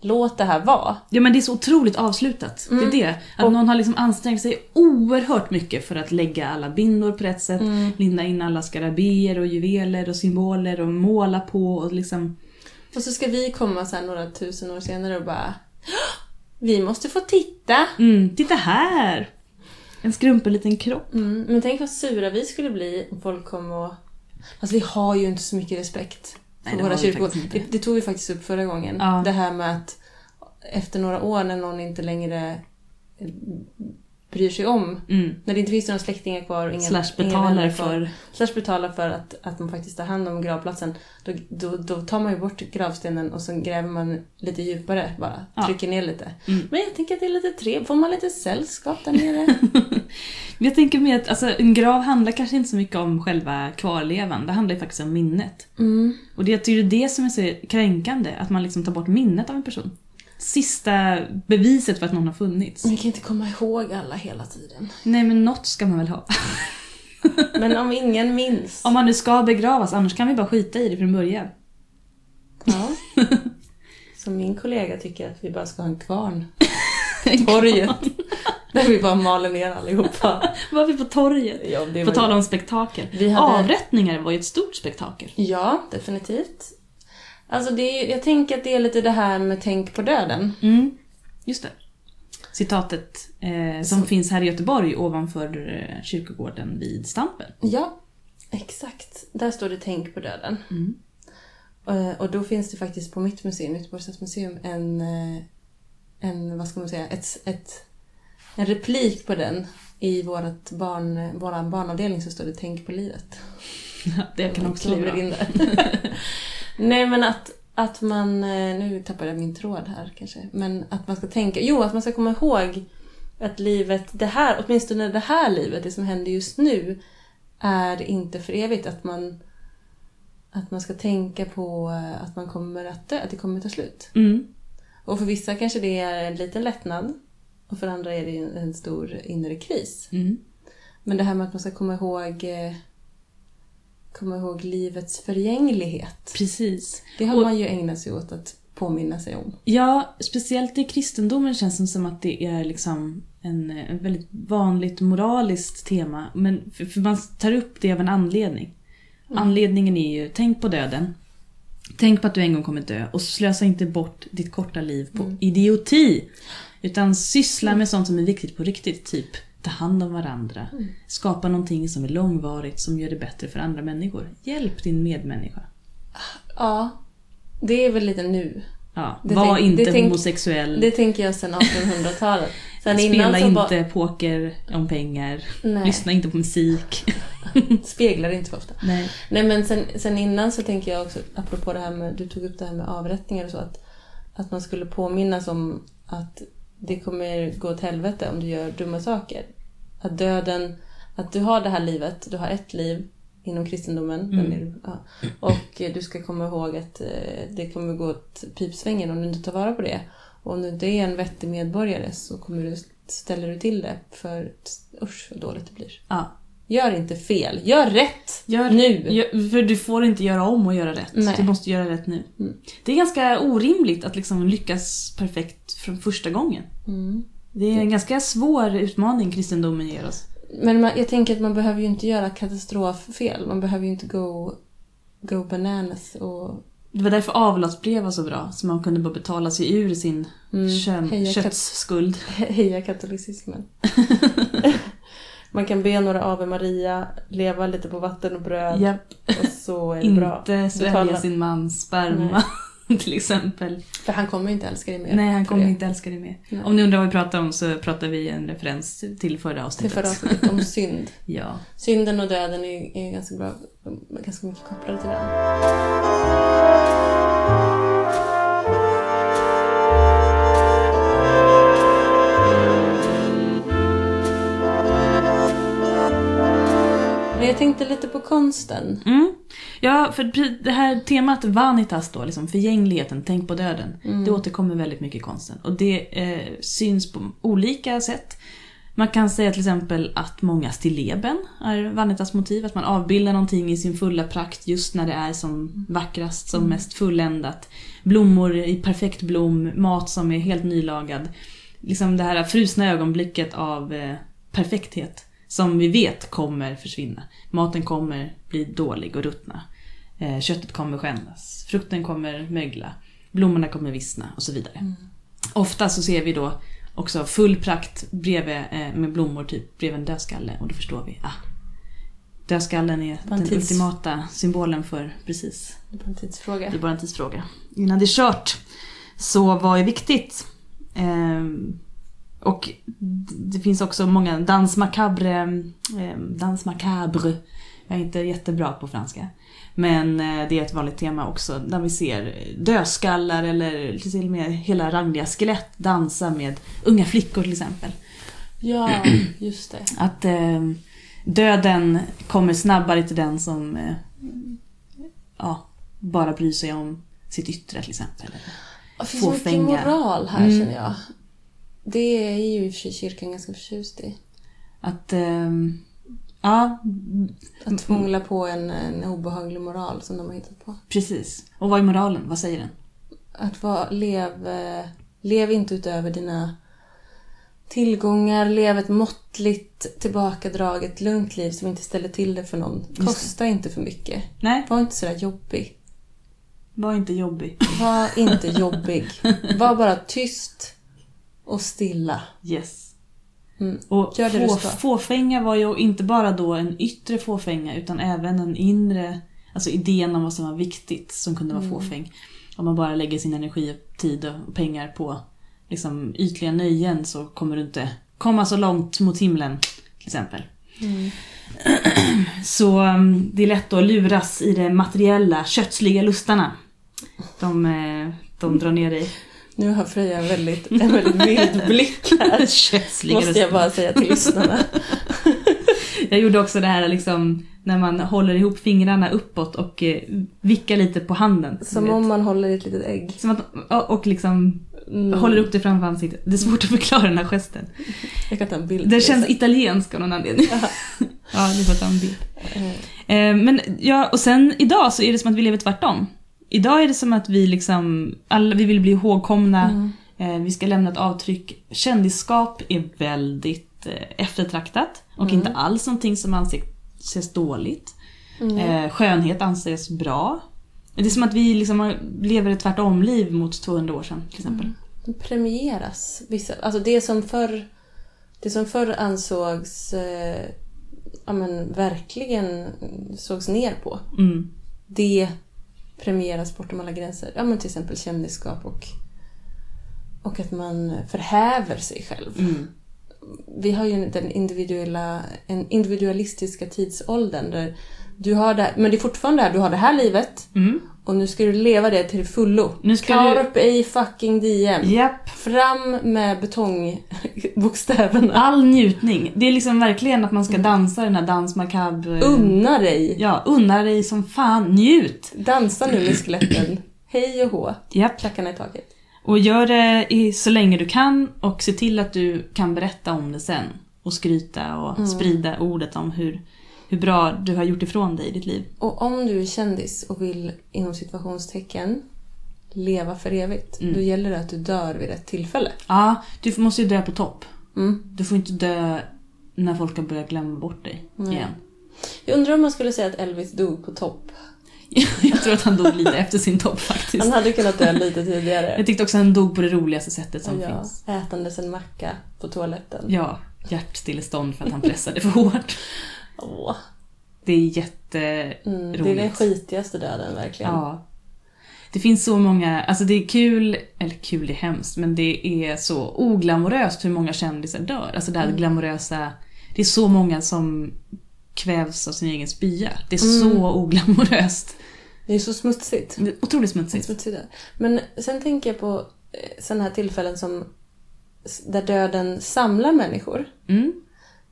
[SPEAKER 1] låt det här vara.
[SPEAKER 2] Ja men det är så otroligt avslutat. Det är det. Att någon har liksom ansträngt sig oerhört mycket för att lägga alla bindor på rätt
[SPEAKER 1] Mm.
[SPEAKER 2] sätt. Linda in alla skarabéer och juveler och symboler och måla på och liksom...
[SPEAKER 1] Och så ska vi komma så här några tusen år senare och bara "Hå! Vi måste få titta!
[SPEAKER 2] Mm, titta här! En skrumpen liten kropp.
[SPEAKER 1] Mm, men tänk vad sura vi skulle bli om folk kom och... Alltså vi har ju inte så mycket respekt för
[SPEAKER 2] Nej, det
[SPEAKER 1] våra
[SPEAKER 2] har vi
[SPEAKER 1] kyrkor.
[SPEAKER 2] faktiskt inte.
[SPEAKER 1] Det, det tog vi faktiskt upp förra gången.
[SPEAKER 2] Ja.
[SPEAKER 1] Det här med att efter några år när någon inte längre eh, bryr sig om,
[SPEAKER 2] Mm.
[SPEAKER 1] när det inte finns några släktingar kvar och inga,
[SPEAKER 2] Slash
[SPEAKER 1] inga vänner
[SPEAKER 2] betalar
[SPEAKER 1] kvar.
[SPEAKER 2] för...
[SPEAKER 1] Slash betalar för att, att man faktiskt tar hand om gravplatsen. Då, då, då tar man ju bort gravstenen och så gräver man lite djupare bara.
[SPEAKER 2] Ja.
[SPEAKER 1] Trycker ner lite.
[SPEAKER 2] Mm.
[SPEAKER 1] Men jag tänker att det är lite trevligt. Får man lite sällskap där nere?
[SPEAKER 2] Men jag tänker mer att alltså, en grav handlar kanske inte så mycket om själva kvarlevan. Det handlar ju faktiskt om minnet.
[SPEAKER 1] Mm.
[SPEAKER 2] Och det, jag tycker det är det som är så kränkande, att man liksom tar bort minnet av en person. Sista beviset för att någon har funnits.
[SPEAKER 1] Jag kan inte komma ihåg alla hela tiden.
[SPEAKER 2] Nej men något ska man väl ha.
[SPEAKER 1] Men om ingen minns.
[SPEAKER 2] Om man nu ska begravas, annars kan vi bara skita i det från början.
[SPEAKER 1] Ja.
[SPEAKER 5] Som min kollega tycker att vi bara ska ha en kvarn.
[SPEAKER 1] Torget. Där vi bara maler ner allihopa.
[SPEAKER 2] Var vi på torget?
[SPEAKER 1] Ja, det
[SPEAKER 2] På
[SPEAKER 1] var...
[SPEAKER 2] tal om spektakel.
[SPEAKER 1] Vi hade-
[SPEAKER 2] Avrättningar var ju ett stort spektakel.
[SPEAKER 1] ja definitivt. Alltså det är, jag tänker att det är lite det här med tänk på döden.
[SPEAKER 2] Mm. Just det. Citatet eh, som finns här i Göteborg ovanför eh, kyrkogården vid Stampen.
[SPEAKER 1] Ja, exakt. Där står det Tänk på döden.
[SPEAKER 2] Mm.
[SPEAKER 1] Eh, Och då finns det faktiskt på mitt museum, Göteborgs stadsmuseum, en, eh, en, vad ska man säga, ett, ett, en replik på den. I vårt barn, vår barnavdelning så står det Tänk på livet.
[SPEAKER 2] Det kan
[SPEAKER 1] Man
[SPEAKER 2] också vara
[SPEAKER 1] kliver
[SPEAKER 2] bra.
[SPEAKER 1] in där. Nej men att, att man, eh, nu tappade jag min tråd här kanske, men att man ska tänka, jo att man ska komma ihåg att livet, det här, åtminstone det här livet, det som händer just nu, är inte för evigt. Att man, att man ska tänka på eh, att man kommer att dö, att det kommer ta slut.
[SPEAKER 2] Mm.
[SPEAKER 1] Och för vissa kanske det är en liten lättnad och för andra är det ju en stor inre kris.
[SPEAKER 2] Mm.
[SPEAKER 1] Men det här med att man ska komma ihåg eh, komma ihåg livets förgänglighet.
[SPEAKER 2] Precis.
[SPEAKER 1] Det har
[SPEAKER 2] Och-
[SPEAKER 1] man ju ägnat sig åt att påminna sig om.
[SPEAKER 2] Ja, speciellt i kristendomen känns det som att det är liksom en, en väldigt vanligt moraliskt tema. Men för, för man tar upp det av en anledning.
[SPEAKER 1] Mm.
[SPEAKER 2] Anledningen är ju, tänk på döden. Tänk på att du en gång kommer dö och slösa inte bort ditt korta liv på
[SPEAKER 1] Mm.
[SPEAKER 2] idioti. Utan syssla med sånt som är viktigt på riktigt, typ ta hand om varandra.
[SPEAKER 1] Mm.
[SPEAKER 2] Skapa någonting som är långvarigt, som gör det bättre för andra människor. Hjälp din medmänniska.
[SPEAKER 1] Ja, det är väl lite nu.
[SPEAKER 2] Ja,
[SPEAKER 1] Det
[SPEAKER 2] var
[SPEAKER 1] tänk-
[SPEAKER 2] inte
[SPEAKER 1] det tänk-
[SPEAKER 2] homosexuell.
[SPEAKER 1] Det tänker jag sedan 1800-talet. Sen
[SPEAKER 2] Spela
[SPEAKER 1] innan så bara,
[SPEAKER 2] inte poker om pengar.
[SPEAKER 1] Nej.
[SPEAKER 2] Lyssna inte på musik.
[SPEAKER 1] speglar det inte för ofta.
[SPEAKER 2] Nej.
[SPEAKER 1] Nej men sen, sen innan så tänker jag också, apropå det här med, du tog upp det här med avrättningar och så, att, att man skulle påminnas om att det kommer gå åt helvete om du gör dumma saker. Att döden, att du har det här livet, du har ett liv inom kristendomen. Den är, du- ja. Och eh, du ska komma ihåg att eh, det kommer gå åt pipsvängen om du inte tar vara på det. Och om du inte är en vettig medborgare så kommer du, ställer du till det för usch vad dåligt det blir.
[SPEAKER 2] Ja.
[SPEAKER 1] Gör inte fel, gör rätt!
[SPEAKER 2] Gör,
[SPEAKER 1] Nu.
[SPEAKER 2] Gör, för du får inte göra om och göra rätt.
[SPEAKER 1] Nej.
[SPEAKER 2] Du måste göra rätt nu.
[SPEAKER 1] Mm.
[SPEAKER 2] Det är ganska orimligt att liksom lyckas perfekt från första gången.
[SPEAKER 1] Mm.
[SPEAKER 2] Det är en ganska svår utmaning kristendomen ger oss.
[SPEAKER 1] Men man, jag tänker att man behöver ju inte göra katastroffel. Man behöver ju inte go, go bananas och
[SPEAKER 2] Det var därför avlatsbrev var så bra, så man kunde bara betala sig ur sin
[SPEAKER 1] mm,
[SPEAKER 2] kön,
[SPEAKER 1] heja, kat,
[SPEAKER 2] köttsskuld.
[SPEAKER 1] heja katolicismen. man kan be några Ave Maria, leva lite på vatten och bröd
[SPEAKER 2] Japp.
[SPEAKER 1] och så är det bra.
[SPEAKER 2] Inte svälja
[SPEAKER 1] Betala.
[SPEAKER 2] sin mans sperma till exempel.
[SPEAKER 1] För han kommer ju inte älska dig mer.
[SPEAKER 2] Nej, han
[SPEAKER 1] för
[SPEAKER 2] kommer
[SPEAKER 1] det.
[SPEAKER 2] inte älska dig mer.
[SPEAKER 1] Nej.
[SPEAKER 2] Om ni undrar vad vi pratar om så pratar vi en referens till förra
[SPEAKER 1] Till
[SPEAKER 2] avsnittet.
[SPEAKER 1] förra avsnittet om synd.
[SPEAKER 2] Ja.
[SPEAKER 1] Synden och döden är, är ganska bra, ganska mycket kopplade till varandra. Men jag tänkte lite på konsten.
[SPEAKER 2] Mm. Ja, för pre- det här temat vanitas då, liksom förgängligheten, tänk på döden. Det återkommer väldigt mycket i konsten. Och det eh, syns på olika sätt. Man kan säga till exempel att många stilleben är vanitasmotiv. Att man avbildar någonting i sin fulla prakt just när det är som vackrast, som mest fulländat. Blommor i perfekt blom, mat som är helt nylagad. Liksom det här frusna ögonblicket av eh, perfekthet. Som vi vet kommer försvinna. Maten kommer bli dålig och ruttna. Eh, Köttet kommer skändas. Frukten kommer mögla. Blommorna kommer vissna och så vidare.
[SPEAKER 1] Mm.
[SPEAKER 2] Ofta så ser vi då också full prakt bredvid, eh, med blommor typ bredvid en dödskalle och då förstår vi. Ah, dödskallen är
[SPEAKER 1] Bara en
[SPEAKER 2] den
[SPEAKER 1] tids-
[SPEAKER 2] ultimata symbolen för precis.
[SPEAKER 1] Det var en tidsfråga.
[SPEAKER 2] Det är bara en tidsfråga. Innan det är kört. Så vad är viktigt? Ehm, och det finns också många dans macabre, ehm, dans macabre. Jag är inte jättebra på franska. Men eh, det är ett vanligt tema också där vi ser dödskallar eller till och med hela rangliga skelett dansa med unga flickor till exempel.
[SPEAKER 1] Ja, just det.
[SPEAKER 2] Att eh, döden kommer snabbare till den som eh, ja, bara bryr sig om sitt yttre till exempel.
[SPEAKER 1] Det finns så mycket
[SPEAKER 2] Fåfänga.
[SPEAKER 1] moral här
[SPEAKER 2] Mm.
[SPEAKER 1] känner jag. Det är ju i och för sig kyrkan ganska förtjust i.
[SPEAKER 2] Att, eh, ja,
[SPEAKER 1] Att tvångla på en, en obehaglig moral som de har hittat på.
[SPEAKER 2] precis. Och vad är moralen? Vad säger den?
[SPEAKER 1] Att vara, lev, eh, lev inte utöver dina tillgångar, lev ett måttligt, tillbakadraget, lugnt liv som inte ställer till det för någon.
[SPEAKER 2] det.
[SPEAKER 1] Kosta inte för mycket.
[SPEAKER 2] Nej,
[SPEAKER 1] Var inte sådär jobbig.
[SPEAKER 2] var inte jobbig.
[SPEAKER 1] Var inte jobbig. Var bara tyst och stilla.
[SPEAKER 2] Yes.
[SPEAKER 1] Mm.
[SPEAKER 2] Och
[SPEAKER 1] Gör det du
[SPEAKER 2] få,
[SPEAKER 1] ska.
[SPEAKER 2] fåfänga var ju inte bara då en yttre fåfänga utan även en inre, alltså idén om vad som var viktigt som kunde
[SPEAKER 1] Mm.
[SPEAKER 2] vara fåfäng. Om man bara lägger sin energi, och tid och pengar på liksom, ytliga nöjen så kommer du inte komma så långt mot himlen till exempel. Mm. Så um, det är lätt att luras i de materiella, kötsliga lustarna. De, eh, de drar ner dig.
[SPEAKER 1] Nu har Freja en väldigt, en väldigt vild blick här.
[SPEAKER 2] kötsliga
[SPEAKER 1] Måste jag bara säga till lyssnarna.
[SPEAKER 2] Jag gjorde också det här liksom när man håller ihop fingrarna uppåt och eh, vickar lite på handen.
[SPEAKER 1] Som om man håller i ett litet ägg.
[SPEAKER 2] Som att, och- och liksom
[SPEAKER 1] Mm.
[SPEAKER 2] håller upp det framför ansiktet. Det är svårt att förklara den här gesten.
[SPEAKER 1] Mm. Jag kan ta en bild. på
[SPEAKER 2] Den känns
[SPEAKER 1] sen.
[SPEAKER 2] italiensk av någon anledning. ja, du får ta en bild.
[SPEAKER 1] Mm.
[SPEAKER 2] Eh, Men ja, och sen idag så är det som att vi lever tvärtom. Idag är det som att vi liksom, alla, vi vill bli ihågkomna,
[SPEAKER 1] Mm.
[SPEAKER 2] eh, vi ska lämna ett avtryck. Kändisskap är väldigt eh, eftertraktat och
[SPEAKER 1] Mm.
[SPEAKER 2] inte alls någonting som anses dåligt.
[SPEAKER 1] Mm.
[SPEAKER 2] Eh, skönhet anses bra. Det är som att vi liksom har- lever ett tvärtom-liv mot 200 år sedan till exempel.
[SPEAKER 1] De Mm. premieras. Vissa, alltså det som förr, det som förr ansågs eh, ja, men verkligen sågs ner på,
[SPEAKER 2] Mm.
[SPEAKER 1] det premieras bortom alla gränser. Ja, men till exempel kändisskap och, och att man förhäver sig själv.
[SPEAKER 2] Mm.
[SPEAKER 1] Vi har ju den individuella, en individualistiska tidsåldern där du har det, men det är fortfarande det här, du har det här livet
[SPEAKER 2] Mm.
[SPEAKER 1] och nu ska du leva det till fullo.
[SPEAKER 2] Nu ska du...
[SPEAKER 1] Carp i fucking diem.
[SPEAKER 2] Japp.
[SPEAKER 1] Fram med betongbokstäverna.
[SPEAKER 2] All njutning. Det är liksom verkligen att man ska dansa den här dans macabre...
[SPEAKER 1] Unna dig.
[SPEAKER 2] Ja, unna dig som fan. Njut!
[SPEAKER 1] Dansa nu med skeletten. Hej och hå.
[SPEAKER 2] Japp.
[SPEAKER 1] Klackarna i taket.
[SPEAKER 2] Och gör det i, så länge du kan och se till att du kan berätta om det sen. Och skryta och sprida ordet om hur, hur bra du har gjort ifrån dig i ditt liv.
[SPEAKER 1] Och om du är kändis och vill inom situationstecken leva för evigt,
[SPEAKER 2] Mm.
[SPEAKER 1] då gäller det att du dör vid rätt tillfälle.
[SPEAKER 2] Ja, du måste ju dö på topp.
[SPEAKER 1] Mm.
[SPEAKER 2] Du får inte dö när folk har börjat glömma bort dig igen.
[SPEAKER 1] Jag undrar om man skulle säga att Elvis dog på topp.
[SPEAKER 2] Jag tror att han dog lite efter sin topp faktiskt.
[SPEAKER 1] Han hade kunnat dö lite
[SPEAKER 2] Jag
[SPEAKER 1] tidigare.
[SPEAKER 2] tyckte också att han dog på det roligaste sättet som
[SPEAKER 1] Ja,
[SPEAKER 2] finns.
[SPEAKER 1] ätandes en macka på toaletten.
[SPEAKER 2] Ja, hjärtstillestånd för att han pressade för hårt.
[SPEAKER 1] Åh.
[SPEAKER 2] Det är jätte...
[SPEAKER 1] Mm, det är
[SPEAKER 2] Roligt.
[SPEAKER 1] den skitigaste döden verkligen.
[SPEAKER 2] Ja. Det finns så många, alltså det är kul, eller kul är hemskt, men det är så oglamoröst hur många kändisar dör. Alltså det här glamorösa, det är så många som kvävs av sin egen spya. Det är så oglamoröst.
[SPEAKER 1] Det är så smutsigt.
[SPEAKER 2] Mm. Det är Otroligt smutsigt.
[SPEAKER 1] smutsigt. Men sen tänker jag på eh, sådana här tillfällen som s- där döden samlar människor
[SPEAKER 2] Mm.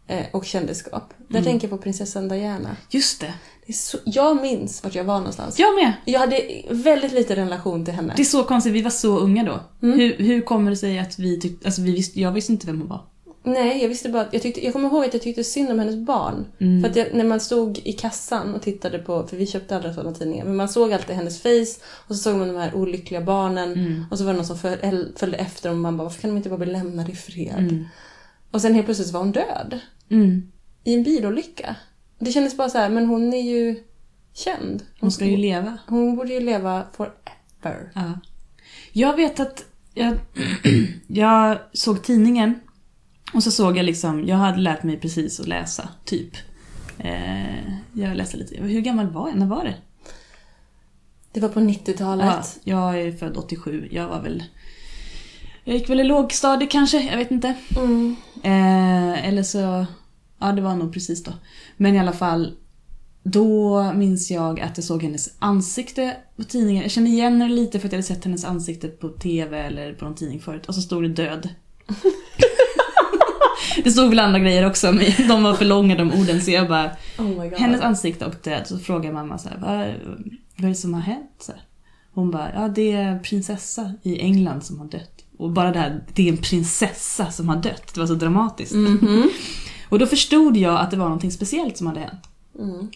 [SPEAKER 1] eh, och kändisskap. Där tänker jag på prinsessan Diana.
[SPEAKER 2] Just det.
[SPEAKER 1] Det är så, jag minns vart jag var någonstans.
[SPEAKER 2] Jag med!
[SPEAKER 1] Jag hade väldigt lite relation till henne.
[SPEAKER 2] Det är så konstigt, vi var så unga då. Hur, hur kommer det sig att vi tyckte, alltså vi visste, jag visste inte vem hon var.
[SPEAKER 1] Nej, jag visste bara jag, tyckte, jag kommer ihåg att jag tyckte synd om hennes barn. För att jag, när man stod i kassan och tittade på, för vi köpte aldrig sådana tidningar, men man såg alltid hennes face och så såg man de här olyckliga barnen
[SPEAKER 2] Mm.
[SPEAKER 1] och så var det någon som föl, följde efter och man bara varför kan de inte bara bli lämnade i fred? Och sen helt plötsligt så var hon död.
[SPEAKER 2] Mm.
[SPEAKER 1] I en bilolycka. Det kändes bara så här, men hon är ju känd.
[SPEAKER 2] Hon ska ju
[SPEAKER 1] Mm.
[SPEAKER 2] leva.
[SPEAKER 1] Hon borde ju leva forever.
[SPEAKER 2] Ja. Jag vet att jag, jag såg tidningen och så såg jag liksom, jag hade lärt mig precis att läsa, typ. Eh, jag läste lite, hur gammal var jag? När var det?
[SPEAKER 1] Det var på 90-talet.
[SPEAKER 2] Ja, jag är född 87, jag var väl... Jag gick väl i lågstadiet kanske, jag vet inte.
[SPEAKER 1] Mm.
[SPEAKER 2] Eh, eller så... Ja, det var nog precis då. Men i alla fall, då minns jag att jag såg hennes ansikte på tidningen. Jag kände igen henne lite för att jag hade sett hennes ansikte på TV eller på någon tidning förut. Och så stod det död. det stod väl andra grejer också, men de var för långa de orden så jag bara...
[SPEAKER 1] Oh my god.
[SPEAKER 2] Hennes ansikte och död. Så frågar mamma så här, vad, vad är det som har hänt? Så här. Hon bara, ja det är en prinsessa i England som har dött. Och bara det här, det är en prinsessa som har dött. Det var så dramatiskt.
[SPEAKER 1] Mm. Mhm.
[SPEAKER 2] Och då förstod jag att det var någonting speciellt som hade hänt.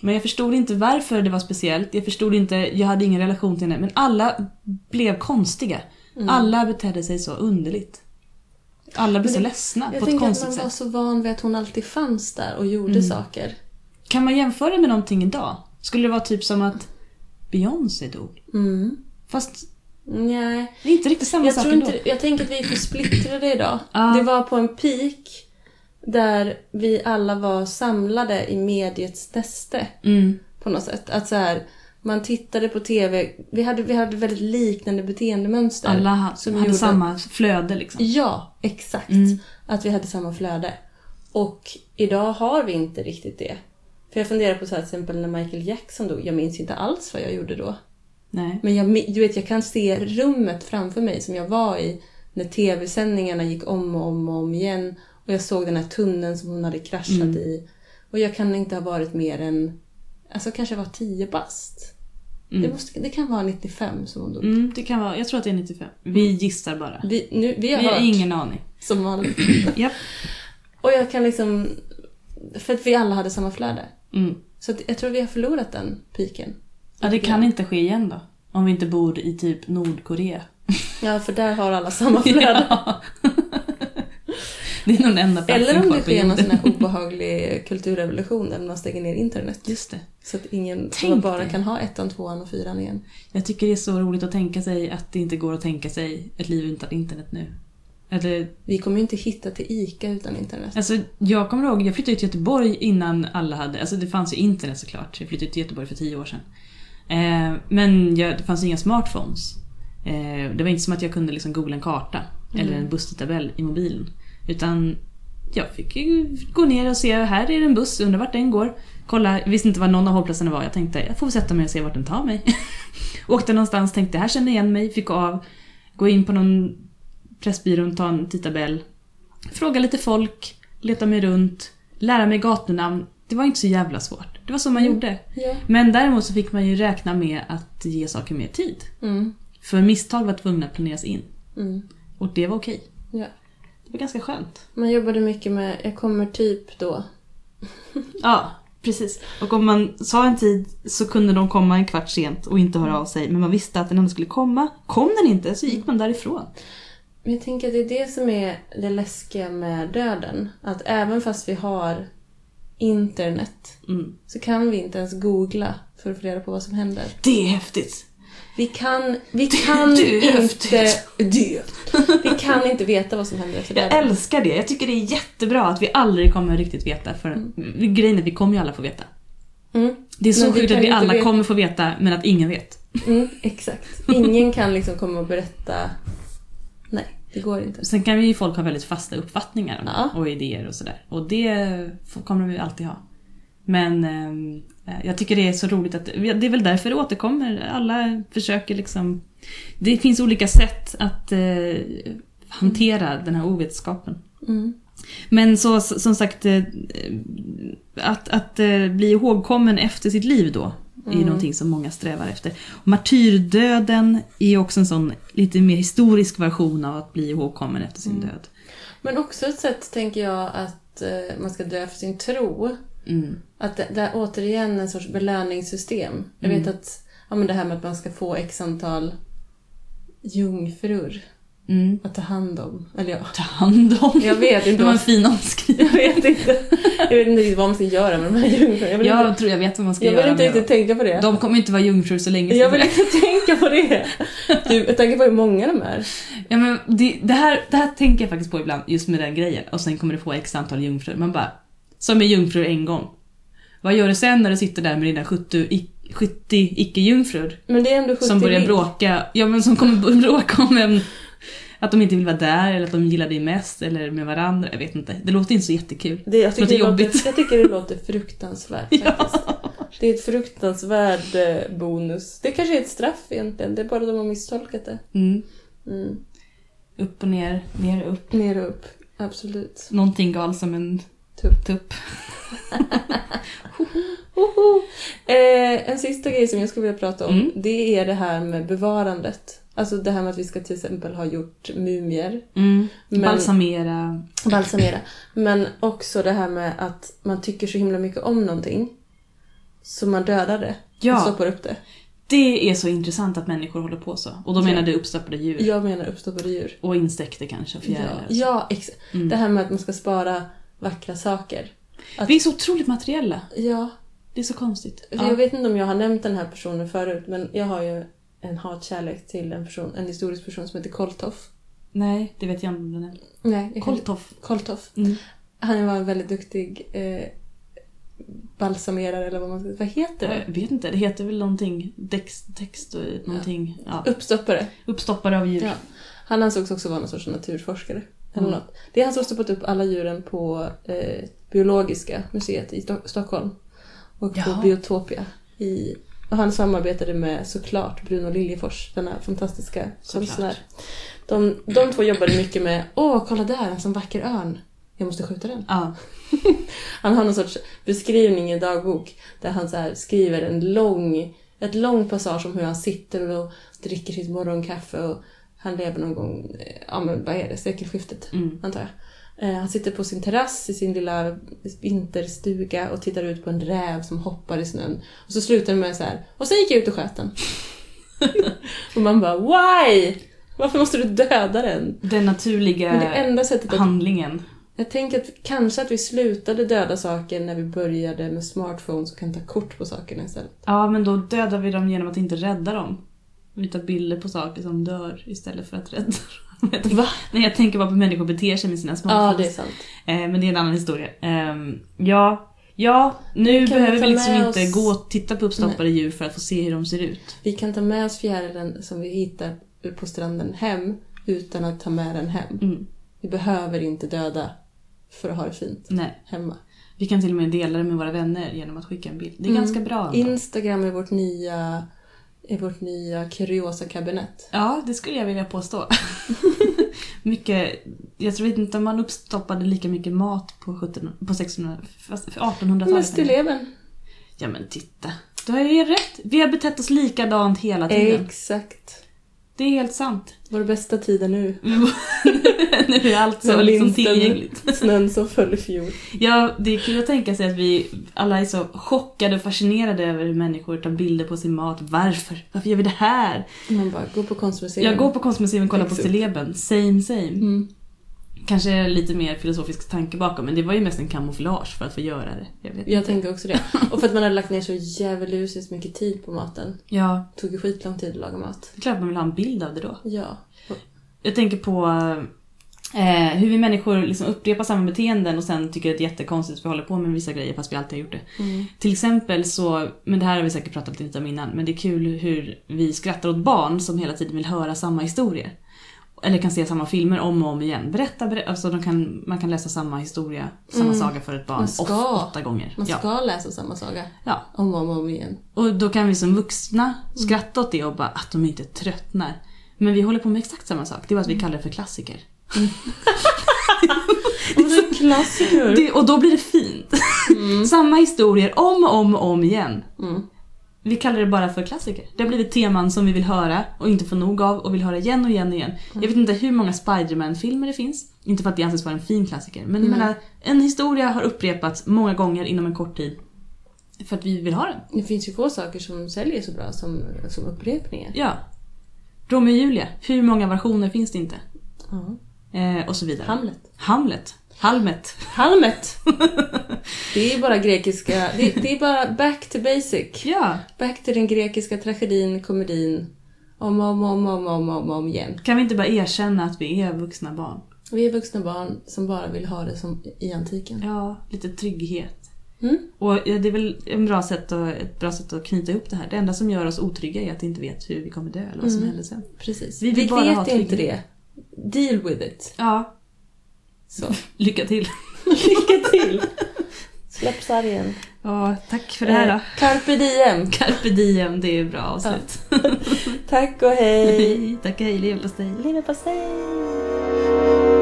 [SPEAKER 2] Men jag förstod inte varför det var speciellt. Jag förstod inte, jag hade ingen relation till henne. Men alla blev konstiga.
[SPEAKER 1] Mm.
[SPEAKER 2] Alla betedde sig så underligt. Alla blev så ledsna
[SPEAKER 1] Jag
[SPEAKER 2] på ett
[SPEAKER 1] tänker att
[SPEAKER 2] konstigt
[SPEAKER 1] man
[SPEAKER 2] sätt. Mm.
[SPEAKER 1] var så van vid att hon alltid fanns där och gjorde saker.
[SPEAKER 2] Kan man jämföra det med någonting idag? Skulle det vara typ som att Beyoncé dog?
[SPEAKER 1] Mm.
[SPEAKER 2] Fast
[SPEAKER 1] Nej.
[SPEAKER 2] det är inte riktigt samma
[SPEAKER 1] Jag,
[SPEAKER 2] sak
[SPEAKER 1] tror
[SPEAKER 2] ändå.
[SPEAKER 1] inte, jag tänker att vi är för splittrade idag.
[SPEAKER 2] Ja.
[SPEAKER 1] Det var på en peak där vi alla var samlade i mediets näste
[SPEAKER 2] Mm.
[SPEAKER 1] på något sätt. Att så här, man tittade på TV, vi hade, vi hade väldigt liknande beteendemönster.
[SPEAKER 2] Alla ha-
[SPEAKER 1] som
[SPEAKER 2] hade
[SPEAKER 1] gjorde- Mm.
[SPEAKER 2] samma flöde liksom.
[SPEAKER 1] Ja, exakt. Att vi hade samma flöde. Och idag har vi inte riktigt det. För jag funderar på så här, till exempel när Michael Jackson dog, jag minns inte alls vad jag gjorde då.
[SPEAKER 2] Nej.
[SPEAKER 1] Men jag, mi- du vet, jag kan se rummet framför mig som jag var i när tv-sändningarna gick om och om och om igen. Och jag såg den här tunneln som hon hade kraschat i. Och jag kan inte ha varit mer än, alltså kanske jag var 10 bast. Det, måste, det kan vara 95 som hon dog.
[SPEAKER 2] Mm, det kan vara, jag tror att det är 95. Vi gissar bara.
[SPEAKER 1] Vi, nu, Mm. vi har
[SPEAKER 2] Vi har
[SPEAKER 1] hört
[SPEAKER 2] ingen aning.
[SPEAKER 1] som vanligt.
[SPEAKER 2] Japp.
[SPEAKER 1] Och jag kan liksom, för att vi alla hade samma flöde.
[SPEAKER 2] Mm.
[SPEAKER 1] Så att jag tror vi har förlorat den piken.
[SPEAKER 2] Ja, det kan inte ske igen då. Om vi inte bor i typ Nordkorea.
[SPEAKER 1] Ja, för där har alla samma flöde.
[SPEAKER 2] Ja. det är nog den enda platsen
[SPEAKER 1] Eller om
[SPEAKER 2] kvar
[SPEAKER 1] det
[SPEAKER 2] på
[SPEAKER 1] sker någon
[SPEAKER 2] jorden.
[SPEAKER 1] sån här obehaglig kulturrevolution där man stänger ner internet.
[SPEAKER 2] Just det.
[SPEAKER 1] Så att ingen så
[SPEAKER 2] Tänk
[SPEAKER 1] man bara
[SPEAKER 2] dig.
[SPEAKER 1] kan ha ettan, tvåan och fyran igen.
[SPEAKER 2] Jag tycker det är så roligt att tänka sig att det inte går att tänka sig ett liv utan internet nu. Eller,
[SPEAKER 1] Vi kommer ju inte hitta till ICA utan internet.
[SPEAKER 2] alltså, jag kommer ihåg, jag flyttade ju till Göteborg innan alla hade, alltså det fanns ju internet såklart. Jag flyttade till Göteborg för tio år sedan. Eh, men jag, det fanns ju inga smartphones. Eh, det var inte som att jag kunde liksom googla en karta eller en busstidtabell i mobilen. Utan jag fick ju gå ner och se, här är det en buss, undrar vart den går. Kolla, jag visste inte var någon av hållplatserna var. Jag tänkte, jag får väl sätta mig och se vart den tar mig. Åkte någonstans, tänkte, här känner jag igen mig, fick gå av. Gå in på någon Pressbyrån, ta en tidtabell. Fråga lite folk, leta mig runt, lära mig gatunamn. Det var inte så jävla svårt. Det var så man gjorde.
[SPEAKER 1] Ja.
[SPEAKER 2] Men däremot så fick man ju räkna med att ge saker mer tid.
[SPEAKER 1] Mm.
[SPEAKER 2] För misstag var tvungna att planeras in.
[SPEAKER 1] Mm.
[SPEAKER 2] Och det var okej.
[SPEAKER 1] ja.
[SPEAKER 2] Det var ganska skönt.
[SPEAKER 1] Man jobbade mycket med jag kommer typ då.
[SPEAKER 2] Ja, precis. Och om man sa en tid så kunde de komma en kvart sent och inte höra av sig. Men man visste att den ändå skulle komma. Kom den inte så gick man därifrån.
[SPEAKER 1] Men jag tänker att det är det som är det läskiga med döden. Att även fast vi har internet
[SPEAKER 2] Mm.
[SPEAKER 1] så kan vi inte ens googla för att få reda på vad som händer.
[SPEAKER 2] Det är häftigt.
[SPEAKER 1] Vi kan, vi kan
[SPEAKER 2] det är
[SPEAKER 1] inte...
[SPEAKER 2] häftigt.
[SPEAKER 1] Det. Vi kan inte veta vad som händer efter
[SPEAKER 2] Jag
[SPEAKER 1] döden.
[SPEAKER 2] älskar det. Jag tycker det är jättebra att vi aldrig kommer riktigt veta. För Grejen är att vi kommer ju alla få veta.
[SPEAKER 1] Mm.
[SPEAKER 2] Det är så
[SPEAKER 1] Men vi
[SPEAKER 2] sjukt
[SPEAKER 1] kan
[SPEAKER 2] att vi
[SPEAKER 1] inte
[SPEAKER 2] alla
[SPEAKER 1] veta-
[SPEAKER 2] kommer få veta men att ingen vet.
[SPEAKER 1] Mm, exakt. Ingen kan liksom komma och berätta... Nej, det går inte.
[SPEAKER 2] Sen kan ju folk ha väldigt fasta uppfattningar om-
[SPEAKER 1] Ja.
[SPEAKER 2] och idéer och sådär. Och det får- kommer de ju alltid ha. Men ehm, jag tycker det är så roligt att det är väl därför det återkommer. Alla försöker liksom... Det finns olika sätt att eh, hantera den här ovetskapen.
[SPEAKER 1] Mm.
[SPEAKER 2] Men så, s- som sagt, eh, att, att eh, bli ihågkommen efter sitt liv då är
[SPEAKER 1] Mm.
[SPEAKER 2] ju någonting som många strävar efter. Martyrdöden är ju också en sån lite mer historisk version av att bli ihågkommen efter
[SPEAKER 1] Mm.
[SPEAKER 2] sin död.
[SPEAKER 1] Men också ett sätt, tänker jag, att eh, man ska dö för sin tro.
[SPEAKER 2] Mm.
[SPEAKER 1] Att det, det är återigen en sorts belöningssystem. Jag vet
[SPEAKER 2] Mm.
[SPEAKER 1] att ja, men det här med att man ska få x antal jungfrur
[SPEAKER 2] Mm.
[SPEAKER 1] att ta hand om. Eller ja,
[SPEAKER 2] Ta hand om.
[SPEAKER 1] Jag vet inte
[SPEAKER 2] Det var en
[SPEAKER 1] vad-
[SPEAKER 2] fin omskrivning.
[SPEAKER 1] jag vet inte. Jag vet inte riktigt vad man ska göra med de här jungfrurna. Jag vill
[SPEAKER 2] Jag
[SPEAKER 1] inte,
[SPEAKER 2] tror jag vet vad man ska
[SPEAKER 1] jag vill
[SPEAKER 2] göra
[SPEAKER 1] inte
[SPEAKER 2] med
[SPEAKER 1] riktigt
[SPEAKER 2] dem.
[SPEAKER 1] tänka på det.
[SPEAKER 2] De liksom kommer inte vara jungfrur så länge.
[SPEAKER 1] jag
[SPEAKER 2] som
[SPEAKER 1] vill inte tänka på det. Du, jag tänker på hur många de är.
[SPEAKER 2] Ja, men det, det, här, det här tänker jag faktiskt på ibland, just med den grejen. Och sen kommer du få x antal jungfrur. Man bara, som är jungfrur en gång. Vad gör du sen när du sitter där med dina 70, i- 70 icke-jungfrur?
[SPEAKER 1] Men det är ändå 70
[SPEAKER 2] Som börjar
[SPEAKER 1] vitt.
[SPEAKER 2] bråka, ja men som kommer börja bråka om en, att de inte vill vara där, eller att de gillar dig mest, eller med varandra. Jag vet inte, det låter inte så jättekul.
[SPEAKER 1] Det, jag, tycker
[SPEAKER 2] Låter
[SPEAKER 1] det
[SPEAKER 2] jobbigt.
[SPEAKER 1] låter, jag tycker det låter fruktansvärt faktiskt. Det är ett fruktansvärd eh, bonus. Det kanske är ett straff egentligen. Det är bara de har misstolkat det.
[SPEAKER 2] Mm.
[SPEAKER 1] Mm.
[SPEAKER 2] Upp och ner, ner och upp.
[SPEAKER 1] Ner och upp. Absolut.
[SPEAKER 2] Någonting gal som en
[SPEAKER 1] Tupp.
[SPEAKER 2] tupp.
[SPEAKER 1] Hoho! Eh, en sista grej som jag skulle vilja prata om.
[SPEAKER 2] Mm.
[SPEAKER 1] Det är det här med bevarandet. Alltså det här med att vi ska till exempel ha gjort mumier.
[SPEAKER 2] Mm.
[SPEAKER 1] Men-
[SPEAKER 2] Balsamera.
[SPEAKER 1] balsamera. Men också det här med att man tycker så himla mycket om någonting. Så man dödar det.
[SPEAKER 2] Ja.
[SPEAKER 1] Och stoppar upp det.
[SPEAKER 2] Det är så intressant att människor håller på så. Och då menar du uppstoppade djur.
[SPEAKER 1] Jag menar uppstoppade djur.
[SPEAKER 2] Och insekter kanske, och
[SPEAKER 1] Ja,
[SPEAKER 2] fjärilar.
[SPEAKER 1] ja exakt.
[SPEAKER 2] Mm.
[SPEAKER 1] Det här med att man ska spara vackra saker. att-
[SPEAKER 2] Vi är så otroligt materiella.
[SPEAKER 1] Ja,
[SPEAKER 2] Det är så konstigt.
[SPEAKER 1] för jag vet inte om jag har nämnt den här personen förut men jag har ju en hatkärlek till en person, en historisk person som heter Koltoff.
[SPEAKER 2] Nej, det vet jag inte om den är.
[SPEAKER 1] Nej, jag kan-
[SPEAKER 2] Koltoff.
[SPEAKER 1] Koltoff.
[SPEAKER 2] Mm.
[SPEAKER 1] Han var en väldigt duktig eh, balsamerare eller vad man ska Vad heter det?
[SPEAKER 2] Jag vet inte, det heter väl någonting. Dex, text och någonting. Ja.
[SPEAKER 1] Uppstoppare.
[SPEAKER 2] Uppstoppare av djur.
[SPEAKER 1] Ja. Han ansågs också vara någon sorts naturforskare. Eller
[SPEAKER 2] Mm.
[SPEAKER 1] något. Det är han som har stoppat upp alla djuren på eh, Biologiska museet i Sto- Stockholm. Och
[SPEAKER 2] Jaha.
[SPEAKER 1] på Biotopia. I, och han samarbetade med såklart Bruno Liljefors, denna fantastiska
[SPEAKER 2] Såklart.
[SPEAKER 1] konstnär. De, de två jobbade mycket med, åh kolla där, en sån vacker örn. Jag måste skjuta den.
[SPEAKER 2] Ja.
[SPEAKER 1] Han har någon sorts beskrivning i dagbok där han så här skriver en lång, ett lång passage om hur han sitter och dricker sitt morgonkaffe och han lever någon gång, eh, ja men vad är det, sekelskiftet
[SPEAKER 2] Mm.
[SPEAKER 1] antar jag. Eh, Han sitter på sin terrass i sin lilla vinterstuga och tittar ut på en räv som hoppar i snön. Och så slutar det med så här, och sen gick jag ut och sköt den. Och man bara why? Varför måste du döda den?
[SPEAKER 2] Den naturliga
[SPEAKER 1] Men det enda sättet att...
[SPEAKER 2] handlingen.
[SPEAKER 1] Jag tänker att kanske att vi slutade döda saker när vi började med smartphones och kan ta kort på sakerna istället.
[SPEAKER 2] Ja, men då dödar vi dem genom att inte rädda dem. Vi tar bilder på saker som dör istället för att rädda dem. Jag tänker,
[SPEAKER 1] Va?
[SPEAKER 2] nej, jag tänker bara på hur människor beter sig med sina
[SPEAKER 1] Ja,
[SPEAKER 2] smartphones.
[SPEAKER 1] det är sant.
[SPEAKER 2] Eh, men det är en annan historia. Eh, ja, ja, nu
[SPEAKER 1] Kan vi
[SPEAKER 2] behöver
[SPEAKER 1] ta
[SPEAKER 2] vi liksom
[SPEAKER 1] med
[SPEAKER 2] inte
[SPEAKER 1] oss-
[SPEAKER 2] gå och titta på uppstoppade djur för att få se hur de ser ut.
[SPEAKER 1] Vi kan ta med oss fjärilen som vi hittar på stranden hem utan att ta med den hem.
[SPEAKER 2] Mm.
[SPEAKER 1] Vi behöver inte döda för att ha det fint
[SPEAKER 2] Nej,
[SPEAKER 1] hemma.
[SPEAKER 2] vi kan till och med dela det med våra vänner genom att skicka en bild. Det är
[SPEAKER 1] Mm.
[SPEAKER 2] ganska bra ändå.
[SPEAKER 1] Instagram är vårt nya, är vårt nya kuriosa-kabinett.
[SPEAKER 2] Ja, det skulle jag vilja påstå. mycket, jag tror inte om man uppstoppade lika mycket mat på, 1700 på 1600 fast- 1800-talet.
[SPEAKER 1] Musteleben.
[SPEAKER 2] Ja men titta. Du har ju rätt. Vi har betett oss likadant hela tiden.
[SPEAKER 1] Exakt.
[SPEAKER 2] Det är helt sant.
[SPEAKER 1] Vår bästa tid är nu.
[SPEAKER 2] Mm. nu är allt så
[SPEAKER 1] Med
[SPEAKER 2] liksom
[SPEAKER 1] vinsten.
[SPEAKER 2] tillgängligt.
[SPEAKER 1] Snön som föll i fjol.
[SPEAKER 2] Ja, det är kul att tänka sig att vi alla är så chockade och fascinerade över hur människor tar bilder på sin mat. Varför? Varför gör vi det här?
[SPEAKER 1] Man bara, gå på konstmuseum.
[SPEAKER 2] Jag går på konstmuseum och kollar på
[SPEAKER 1] Exakt.
[SPEAKER 2] celeben. Same same.
[SPEAKER 1] Mm.
[SPEAKER 2] Kanske lite mer filosofisk tanke bakom, men det var ju mest en kamouflage för att få göra det. Jag vet.
[SPEAKER 1] Jag tänker också det. Och för att man hade lagt ner så djävulusiskt mycket tid på maten.
[SPEAKER 2] Ja,
[SPEAKER 1] Det tog ju skitlång tid att laga mat.
[SPEAKER 2] det är klart man vill ha en bild av det då.
[SPEAKER 1] Ja.
[SPEAKER 2] Jag tänker på eh, hur vi människor liksom upprepar samma beteenden och sen tycker att det är jättekonstigt att vi håller på med vissa grejer fast vi alltid har gjort det.
[SPEAKER 1] Mm.
[SPEAKER 2] Till exempel så, men det här har vi säkert pratat lite om innan, men det är kul hur vi skrattar åt barn som hela tiden vill höra samma historier. Eller kan se samma filmer om och om igen. Berätta, berätta alltså de kan, man kan läsa samma historia, samma
[SPEAKER 1] Mm.
[SPEAKER 2] saga för ett barn
[SPEAKER 1] Man ska.
[SPEAKER 2] off- åtta gånger.
[SPEAKER 1] Man
[SPEAKER 2] Ja.
[SPEAKER 1] ska läsa samma saga.
[SPEAKER 2] Ja.
[SPEAKER 1] Om och om, och om igen.
[SPEAKER 2] Och då kan vi som vuxna
[SPEAKER 1] Mm.
[SPEAKER 2] skratta åt det och bara att de inte tröttnar. Men vi håller på med exakt samma sak, det är bara att
[SPEAKER 1] Mm.
[SPEAKER 2] vi kallar det för klassiker.
[SPEAKER 1] Och det är klassiker.
[SPEAKER 2] Det, och då blir det fint. samma historier om och om och om igen.
[SPEAKER 1] Mm.
[SPEAKER 2] Vi kallar det bara för klassiker. Det har blivit teman som vi vill höra och inte får nog av och vill höra igen och igen och igen. Jag vet inte hur många Spiderman-filmer det finns. Inte för att det anses vara en fin klassiker, men jag menar, en historia har upprepats många gånger inom en kort tid. För att vi vill ha den.
[SPEAKER 1] Det finns ju få saker som säljer så bra som, som upprepningar.
[SPEAKER 2] Ja. Romeo och Julia, hur många versioner finns det inte?
[SPEAKER 1] Ja.
[SPEAKER 2] Eh, och så vidare.
[SPEAKER 1] Hamlet.
[SPEAKER 2] Hamlet. Halmet.
[SPEAKER 1] Halmet! Det är bara grekiska... Det, det är bara back to basic.
[SPEAKER 2] Ja.
[SPEAKER 1] Back till den grekiska tragedin, komedin. Om och om och om, och om, och om, och om, och om igen.
[SPEAKER 2] Kan vi inte bara erkänna att vi är vuxna barn?
[SPEAKER 1] Vi är vuxna barn som bara vill ha det som i antiken.
[SPEAKER 2] Ja, lite trygghet.
[SPEAKER 1] Mm.
[SPEAKER 2] Och ja, det är väl en bra sätt att, ett bra sätt att knyta ihop det här. Det enda som gör oss otrygga är att vi inte vet hur vi kommer dö eller vad som
[SPEAKER 1] Mm.
[SPEAKER 2] händer sen.
[SPEAKER 1] Precis.
[SPEAKER 2] Vi
[SPEAKER 1] Vi,
[SPEAKER 2] vill bara ha
[SPEAKER 1] vet inte det.
[SPEAKER 2] trygghet.
[SPEAKER 1] Deal with it.
[SPEAKER 2] Ja,
[SPEAKER 1] Så.
[SPEAKER 2] lycka till.
[SPEAKER 1] Lycka till! Släpp sargen.
[SPEAKER 2] Ja, tack för det här då.
[SPEAKER 1] Eh, Carpe diem.
[SPEAKER 2] Carpe diem, det är bra avslut.
[SPEAKER 1] Tack och hej.
[SPEAKER 2] Hej, tack och hej, leverpastej.
[SPEAKER 1] Leverpastej.